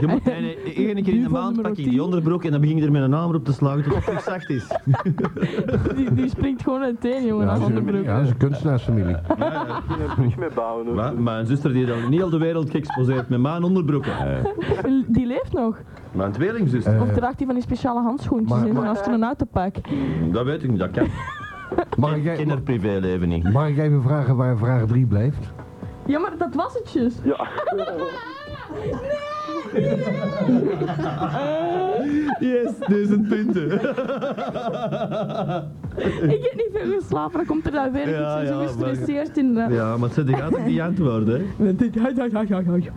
[SPEAKER 4] Je moet, nee, nee, één keer in de
[SPEAKER 2] Duivel
[SPEAKER 4] maand
[SPEAKER 2] nummer
[SPEAKER 4] pak ik
[SPEAKER 2] 10.
[SPEAKER 4] die onderbroek en dan begin je er met een hamer op te slagen tot het terug zacht is.
[SPEAKER 2] Die, die springt gewoon uiteen, jongen,
[SPEAKER 3] ja,
[SPEAKER 2] als
[SPEAKER 3] dat is een,
[SPEAKER 2] onderbroek.
[SPEAKER 3] ja, dat is een kunstenaarsfamilie.
[SPEAKER 8] Misschien er terug mee bouwen dus hoor.
[SPEAKER 4] Maar mijn zuster die dan niet heel de wereld geëxposeerd met mijn onderbroeken.
[SPEAKER 2] Die leeft nog.
[SPEAKER 4] Mijn tweelingzuster.
[SPEAKER 2] Of draagt hij van die speciale handschoentjes
[SPEAKER 3] maar-
[SPEAKER 2] in zo'n
[SPEAKER 3] maar-
[SPEAKER 2] astronautenpak?
[SPEAKER 4] Dat weet ik niet, dat kan.
[SPEAKER 3] Mag
[SPEAKER 4] Ik
[SPEAKER 3] ik,
[SPEAKER 4] ken haar
[SPEAKER 3] e-
[SPEAKER 4] privéleven niet.
[SPEAKER 3] mag ik even vragen waar vraag 3 blijft?
[SPEAKER 2] Ja, maar dat was het dus.
[SPEAKER 4] Yes, duizend punten.
[SPEAKER 2] Ik heb niet veel geslapen, dan komt er daar weer.
[SPEAKER 4] Ja,
[SPEAKER 2] ik ben
[SPEAKER 4] ja,
[SPEAKER 2] zo gestresseerd in. de-
[SPEAKER 4] Ja, maar ze die gaat ook niet antwoorden. hè.
[SPEAKER 2] Ja, ja, ja, ja, ja.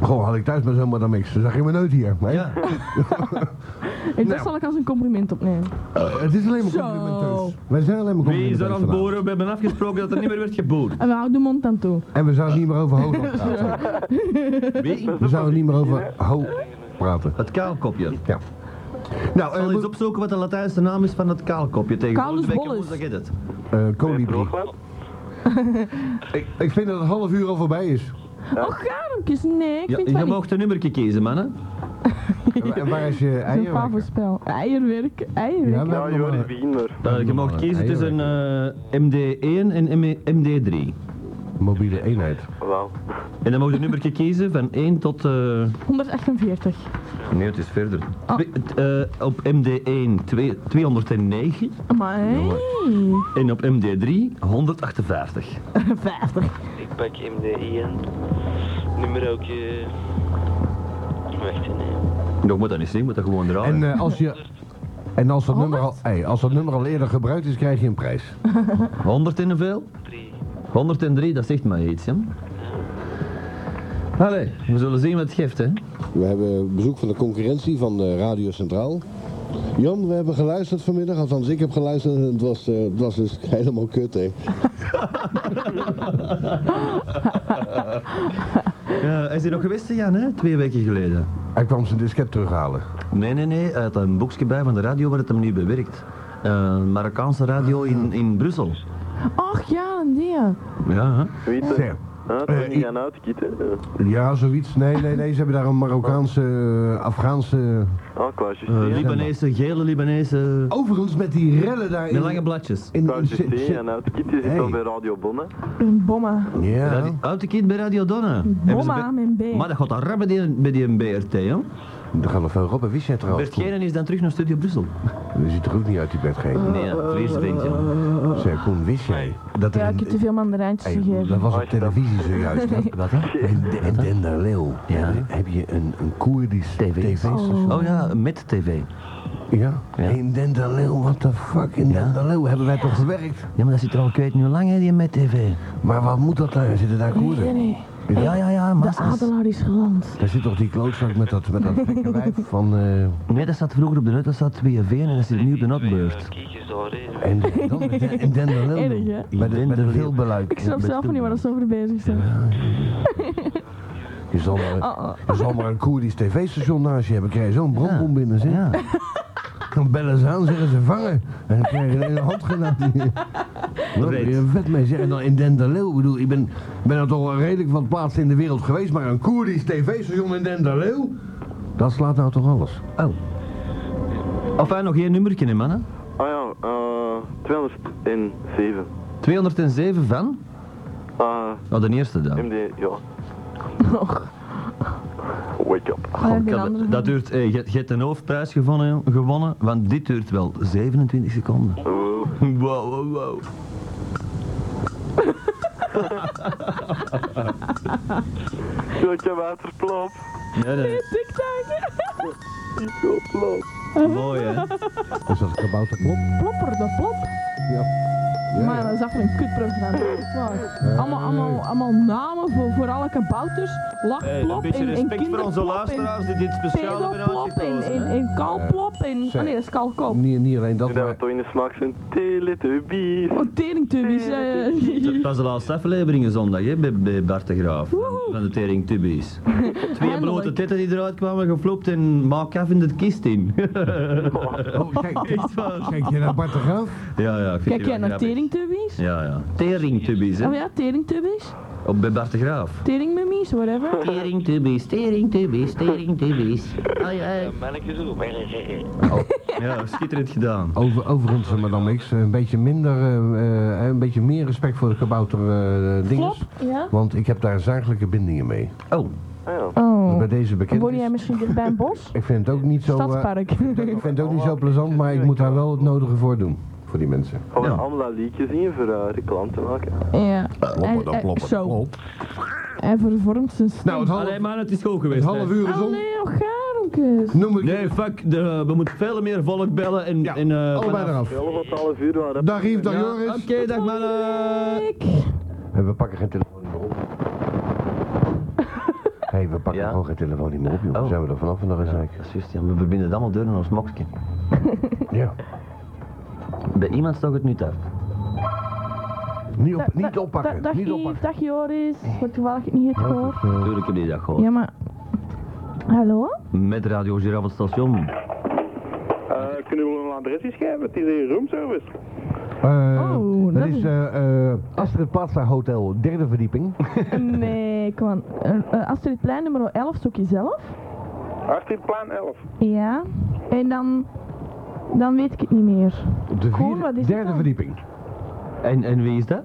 [SPEAKER 3] Goh, had ik thuis maar zomaar dan niks. Dan zag je me nooit hier. hè?
[SPEAKER 4] Ja.
[SPEAKER 2] En
[SPEAKER 3] Nou.
[SPEAKER 2] dat zal ik als een compliment opnemen.
[SPEAKER 3] Het is alleen maar
[SPEAKER 2] Zo.
[SPEAKER 3] complimenteus. Wij zijn alleen maar
[SPEAKER 4] Wie is
[SPEAKER 3] complimenteus.
[SPEAKER 4] er aan het
[SPEAKER 3] vandaag.
[SPEAKER 4] boren? We hebben afgesproken dat er niet meer werd geboord.
[SPEAKER 2] En we houden de mond dan toe.
[SPEAKER 3] En we zouden niet meer over ho praten.
[SPEAKER 4] Wie?
[SPEAKER 3] We zouden niet meer over ho praten.
[SPEAKER 4] Het kaalkopje. Nou,
[SPEAKER 3] Ja. Nou,
[SPEAKER 4] zal
[SPEAKER 3] eh,
[SPEAKER 4] eens
[SPEAKER 3] moet-
[SPEAKER 4] opzoeken wat de Latijnse naam is van het kaalkopje. Tegen
[SPEAKER 2] Kaalus
[SPEAKER 4] volgende week
[SPEAKER 2] bolus.
[SPEAKER 4] woensdag is het.
[SPEAKER 3] eh, kolibrie. Ik, ik vind dat het half uur al voorbij is.
[SPEAKER 2] Och, garmpjes, nee, ik
[SPEAKER 4] Ja,
[SPEAKER 2] vind
[SPEAKER 4] je
[SPEAKER 2] het wel niet.
[SPEAKER 4] mag een nummertje kiezen, mannen.
[SPEAKER 3] En waar is je
[SPEAKER 2] Een
[SPEAKER 3] eieren?
[SPEAKER 2] pavelspel. Eierwerk,
[SPEAKER 3] Ja,
[SPEAKER 2] eierwerk.
[SPEAKER 3] we
[SPEAKER 8] Ja,
[SPEAKER 3] hebben nog
[SPEAKER 8] joh,
[SPEAKER 3] maar-
[SPEAKER 8] begin maar.
[SPEAKER 4] Eh, je mag kiezen tussen eh, MD1 en E- ME MD3.
[SPEAKER 3] Mobiele eenheid.
[SPEAKER 8] Wauw.
[SPEAKER 4] En dan mag je een nummertje kiezen van 1 tot... eh,
[SPEAKER 2] 148.
[SPEAKER 4] Nee, het is verder. Twee- t- eh, op MD1 twee- 209
[SPEAKER 2] Maar
[SPEAKER 4] en op MD3 158.
[SPEAKER 2] 50.
[SPEAKER 9] Ik pak MD1. Nummer ook... eh, Wacht, nee.
[SPEAKER 4] Dat moet dat niet zien, je moet dat gewoon draaien.
[SPEAKER 3] En eh, als je. En als dat, nummer al, hey, als dat nummer al eerder gebruikt is, krijg je een prijs.
[SPEAKER 4] 100 en hoeveel?
[SPEAKER 9] 3.
[SPEAKER 4] 103, dat zegt mij iets, hè? Allee, we zullen zien wat het geeft, hè?
[SPEAKER 3] We hebben bezoek van de concurrentie van eh, Radio Centraal. Jan, we hebben geluisterd vanmiddag, althans ik heb geluisterd en het was, eh, het was dus helemaal kut, hè.
[SPEAKER 4] Ja, Eh, is hij nog geweest, Jan, hè? Twee weken geleden.
[SPEAKER 3] Hij kwam zijn disket terughalen.
[SPEAKER 4] Nee, nee, nee, uit een boekje bij van de radio waar het hem nu bewerkt. Eh, Marokkaanse radio in, in Brussel.
[SPEAKER 2] Och ja, een die. ja.
[SPEAKER 4] Ja, hè?
[SPEAKER 8] Wie het?
[SPEAKER 3] Zeg,
[SPEAKER 8] Ah, het
[SPEAKER 3] Eh,
[SPEAKER 8] is
[SPEAKER 3] i-
[SPEAKER 8] niet gaan uitkiezen. hè.
[SPEAKER 3] ja, zoiets. Nee, nee, nee, ze hebben daar een Marokkaanse, eh, Afghaanse...
[SPEAKER 8] Ah, Klaasje.
[SPEAKER 4] Eh, Libanese, gele Libanese.
[SPEAKER 3] Overigens met die rellen daar
[SPEAKER 4] Met
[SPEAKER 3] in...
[SPEAKER 4] lange bladjes.
[SPEAKER 3] in, in-
[SPEAKER 8] Klaasje
[SPEAKER 3] zit-
[SPEAKER 8] C en uitkiezen zit
[SPEAKER 3] Hey.
[SPEAKER 8] al bij Radio Bonne.
[SPEAKER 2] Een bomma.
[SPEAKER 3] Ja.
[SPEAKER 4] Radio- Houd de kind bij Radio Donna. Hebben ze
[SPEAKER 2] Bomma,
[SPEAKER 4] be-
[SPEAKER 2] mijn B.
[SPEAKER 4] Maar dat gaat dan rap bij die, bij die BRT, hè?
[SPEAKER 3] Er gaan nog veel op, en wist jij trouwens?
[SPEAKER 4] Bert Geren is dan terug naar Studio Brussel.
[SPEAKER 3] Koen? Je ziet er ook niet uit die bed geven.
[SPEAKER 4] Nee, ja, vrees vindt, ja.
[SPEAKER 3] Zeg, Koen, wist jij dat er
[SPEAKER 2] Ja, ik
[SPEAKER 3] een-
[SPEAKER 2] heb te veel mandarijntjes
[SPEAKER 3] Hey,
[SPEAKER 2] gegeven.
[SPEAKER 3] dat was op televisie zojuist. hè?
[SPEAKER 4] Wat, hè?
[SPEAKER 3] In, in Dender Leeuw eh,
[SPEAKER 4] Ja.
[SPEAKER 3] heb je een, een Koerdisch tv-station.
[SPEAKER 4] Oh ja, met TV.
[SPEAKER 3] Ja. In Dender Leeuw, what the fuck? In Dender Leeuw hebben wij toch gewerkt?
[SPEAKER 4] Ja, maar dat zit er al kwijt nu lang, hè, die met TV.
[SPEAKER 3] Maar wat moet dat daar? Zitten daar Koerden?
[SPEAKER 2] Nee, nee.
[SPEAKER 4] Ja, ja, ja,
[SPEAKER 2] De
[SPEAKER 4] massa's.
[SPEAKER 2] adelaar is geland.
[SPEAKER 3] Daar zit toch die klootzak met dat, met dat gekke wijf van... eh,
[SPEAKER 4] Nee, dat staat vroeger op de nut, dat staat 2V en dat zit nu op de notbeurt.
[SPEAKER 9] Kiekjes daar, hè.
[SPEAKER 3] en dan met de- en
[SPEAKER 2] Erg,
[SPEAKER 3] Denderlinde.
[SPEAKER 2] hè?
[SPEAKER 3] Bij de, bij de veelbeluik.
[SPEAKER 2] Ik snap zelf niet waar dat ze over bezig zijn.
[SPEAKER 3] Je zal maar,
[SPEAKER 2] Oh, oh.
[SPEAKER 3] je zal maar een Koerdisch tv-station naast je hebben. krijg je zo'n brandbom binnen, zeg.
[SPEAKER 4] Ja.
[SPEAKER 3] Dan bellen ze aan, zeggen ze vangen. En dan krijg je een hele handgranaat. Wat ben je vet mee zeg. En dan in Denderleeuw. Ik bedoel, ik ben, ben er toch wel redelijk wat plaatsen in de wereld geweest. Maar een Koerdisch tv-station in Denderleeuw? Dat slaat nou toch alles.
[SPEAKER 4] Oh. Enfin, nog één nummertje, hè, mannen.
[SPEAKER 8] Ah ja, eh 207.
[SPEAKER 4] 207 van?
[SPEAKER 8] Ah,
[SPEAKER 4] Oh, de eerste dan.
[SPEAKER 8] MD, ja.
[SPEAKER 2] Och,
[SPEAKER 8] Wake up.
[SPEAKER 2] ja,
[SPEAKER 4] Ik
[SPEAKER 2] die
[SPEAKER 4] had-
[SPEAKER 2] andere
[SPEAKER 4] dat duurt, eh, je je hebt een hoofdprijs gewonnen, gewonnen, want dit duurt wel 27 seconden. Wow,
[SPEAKER 8] Oeh.
[SPEAKER 4] wow, wow.
[SPEAKER 8] Zulke waterplop.
[SPEAKER 4] Nee, nee.
[SPEAKER 2] TikTok.
[SPEAKER 4] Mooi, hè?
[SPEAKER 3] Is dat een kabouterklop?
[SPEAKER 2] Plopper de plop. Maar dat is echt een kutprogramma. Echt waar. Allemaal, allemaal, allemaal namen voor, voor alle kabouters. Lakplop en, en kinderplop en
[SPEAKER 4] die dit
[SPEAKER 2] pedoplop en, en, en kalplop en...
[SPEAKER 3] Zeg.
[SPEAKER 2] Ah nee, dat is kalkoop.
[SPEAKER 3] Niet, niet alleen dat,
[SPEAKER 8] En dat we
[SPEAKER 3] maar...
[SPEAKER 8] toch in de smaak zijn. Teletubbies.
[SPEAKER 2] Oh, teringtubbies. eh.
[SPEAKER 4] Dat was de laatste aflevering zondag, hè, bij, bij Bart de Graaf. Van de Tering Tubbies. Twee
[SPEAKER 2] Eindelijk.
[SPEAKER 4] blote titten die eruit kwamen, geflopt en maak af in het kist in.
[SPEAKER 3] Oh, kijk,
[SPEAKER 4] Echt waar.
[SPEAKER 3] kijk je naar Bart de Graaf?
[SPEAKER 4] Ja, ja. ik vind
[SPEAKER 2] Kijk
[SPEAKER 4] die
[SPEAKER 2] jij
[SPEAKER 4] wel
[SPEAKER 2] naar
[SPEAKER 4] grappig.
[SPEAKER 2] teringtubbies?
[SPEAKER 4] Ja, ja. Teringtubbies, hè?
[SPEAKER 2] Oh ja, teringtubbies.
[SPEAKER 4] Op bij Bart de Graaf.
[SPEAKER 2] Teringmummies, whatever.
[SPEAKER 4] Teringtubbies, teringtubbies, teringtubbies. Ai, ai.
[SPEAKER 9] Een mannetje zo.
[SPEAKER 4] Oh, Ja, schitterend gedaan.
[SPEAKER 3] Over, overigens, eh, madame X, een beetje minder, eh, eh, een beetje meer respect voor de kabouter eh,
[SPEAKER 2] Flop,
[SPEAKER 3] dinges.
[SPEAKER 2] ja.
[SPEAKER 3] Want ik heb daar zakelijke bindingen mee.
[SPEAKER 4] Oh,
[SPEAKER 2] Oh.
[SPEAKER 3] Bij deze bekend
[SPEAKER 2] Woon jij
[SPEAKER 3] is.
[SPEAKER 2] misschien dicht bij een bos?
[SPEAKER 3] Ik vind het ook niet zo... eh,
[SPEAKER 2] Stadspark.
[SPEAKER 3] ik vind het ook niet zo plezant, maar ik moet daar wel het nodige voor doen. Voor die mensen.
[SPEAKER 8] Gaan we
[SPEAKER 4] Ja.
[SPEAKER 8] allemaal dat liedje zien voor eh, reclame te maken?
[SPEAKER 2] ja.
[SPEAKER 3] Kloppen,
[SPEAKER 4] eh,
[SPEAKER 2] Hij- hij- Zo. Hij vervormt zijn stem.
[SPEAKER 3] Nou, het half,
[SPEAKER 4] alleen maar het is goed
[SPEAKER 3] het
[SPEAKER 4] geweest.
[SPEAKER 3] half
[SPEAKER 4] hè.
[SPEAKER 3] uur is
[SPEAKER 2] Oh
[SPEAKER 3] om.
[SPEAKER 2] nee, nog gaarmkes.
[SPEAKER 3] Noem ik.
[SPEAKER 4] Nee, fuck, de, we moeten veel meer volk bellen en...
[SPEAKER 3] Ja,
[SPEAKER 4] en eh,
[SPEAKER 3] allebei
[SPEAKER 4] vanaf-
[SPEAKER 3] eraf.
[SPEAKER 8] Wel wat half uur waren.
[SPEAKER 3] Dag Yves, dag
[SPEAKER 4] Ja,
[SPEAKER 3] Joris.
[SPEAKER 4] Oké, dag mannen.
[SPEAKER 3] En we pakken geen telefoon meer op. Hé, hey, we pakken
[SPEAKER 4] Ja.
[SPEAKER 3] gewoon geen telefoon niet meer op, joh. Dan
[SPEAKER 4] Oh.
[SPEAKER 3] zijn we er vanaf vandaag eens
[SPEAKER 4] Ja,
[SPEAKER 3] eigenlijk.
[SPEAKER 4] dat is juist, ja, we verbinden het allemaal deur naar ons mokje.
[SPEAKER 3] Ja.
[SPEAKER 4] Bij iemand stak het nu af.
[SPEAKER 3] Niet, op, niet oppakken,
[SPEAKER 2] Dag
[SPEAKER 3] niet
[SPEAKER 2] Yves,
[SPEAKER 3] oppakken. Eh,
[SPEAKER 2] dag Joris. Voor het geval dat je het niet hebt gehoord.
[SPEAKER 4] Tuurlijk heb je dat gehoord.
[SPEAKER 2] Ja, maar... Hallo?
[SPEAKER 4] Met Radio Giraffe op het station.
[SPEAKER 8] Eh, kunnen we een adresjes geven? Het is hier roomservice.
[SPEAKER 3] Eh,
[SPEAKER 2] Oh,
[SPEAKER 3] dat
[SPEAKER 2] dat
[SPEAKER 3] is
[SPEAKER 2] is-
[SPEAKER 3] eh, eh, Astrid Plaza Hotel, derde verdieping.
[SPEAKER 2] Nee, kom aan. Eh, eh, Astrid Plein, nummer 11, zoek je zelf.
[SPEAKER 8] plan 11.
[SPEAKER 2] Ja. En dan... Dan weet ik het niet meer.
[SPEAKER 3] Op de
[SPEAKER 2] Cool,
[SPEAKER 3] vierde,
[SPEAKER 2] wat is dat
[SPEAKER 3] derde
[SPEAKER 2] dan?
[SPEAKER 3] verdieping.
[SPEAKER 4] En, en wie is dat?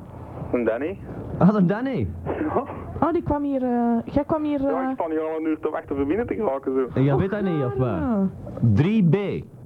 [SPEAKER 8] En Danny?
[SPEAKER 4] Ah, dan Danny.
[SPEAKER 2] Oh, die kwam hier... eh, jij kwam hier... eh, Ah,
[SPEAKER 8] sta hier al een uur te wachten voor binnen te geraken zo.
[SPEAKER 4] En jij weet dat niet, of waar? 3B.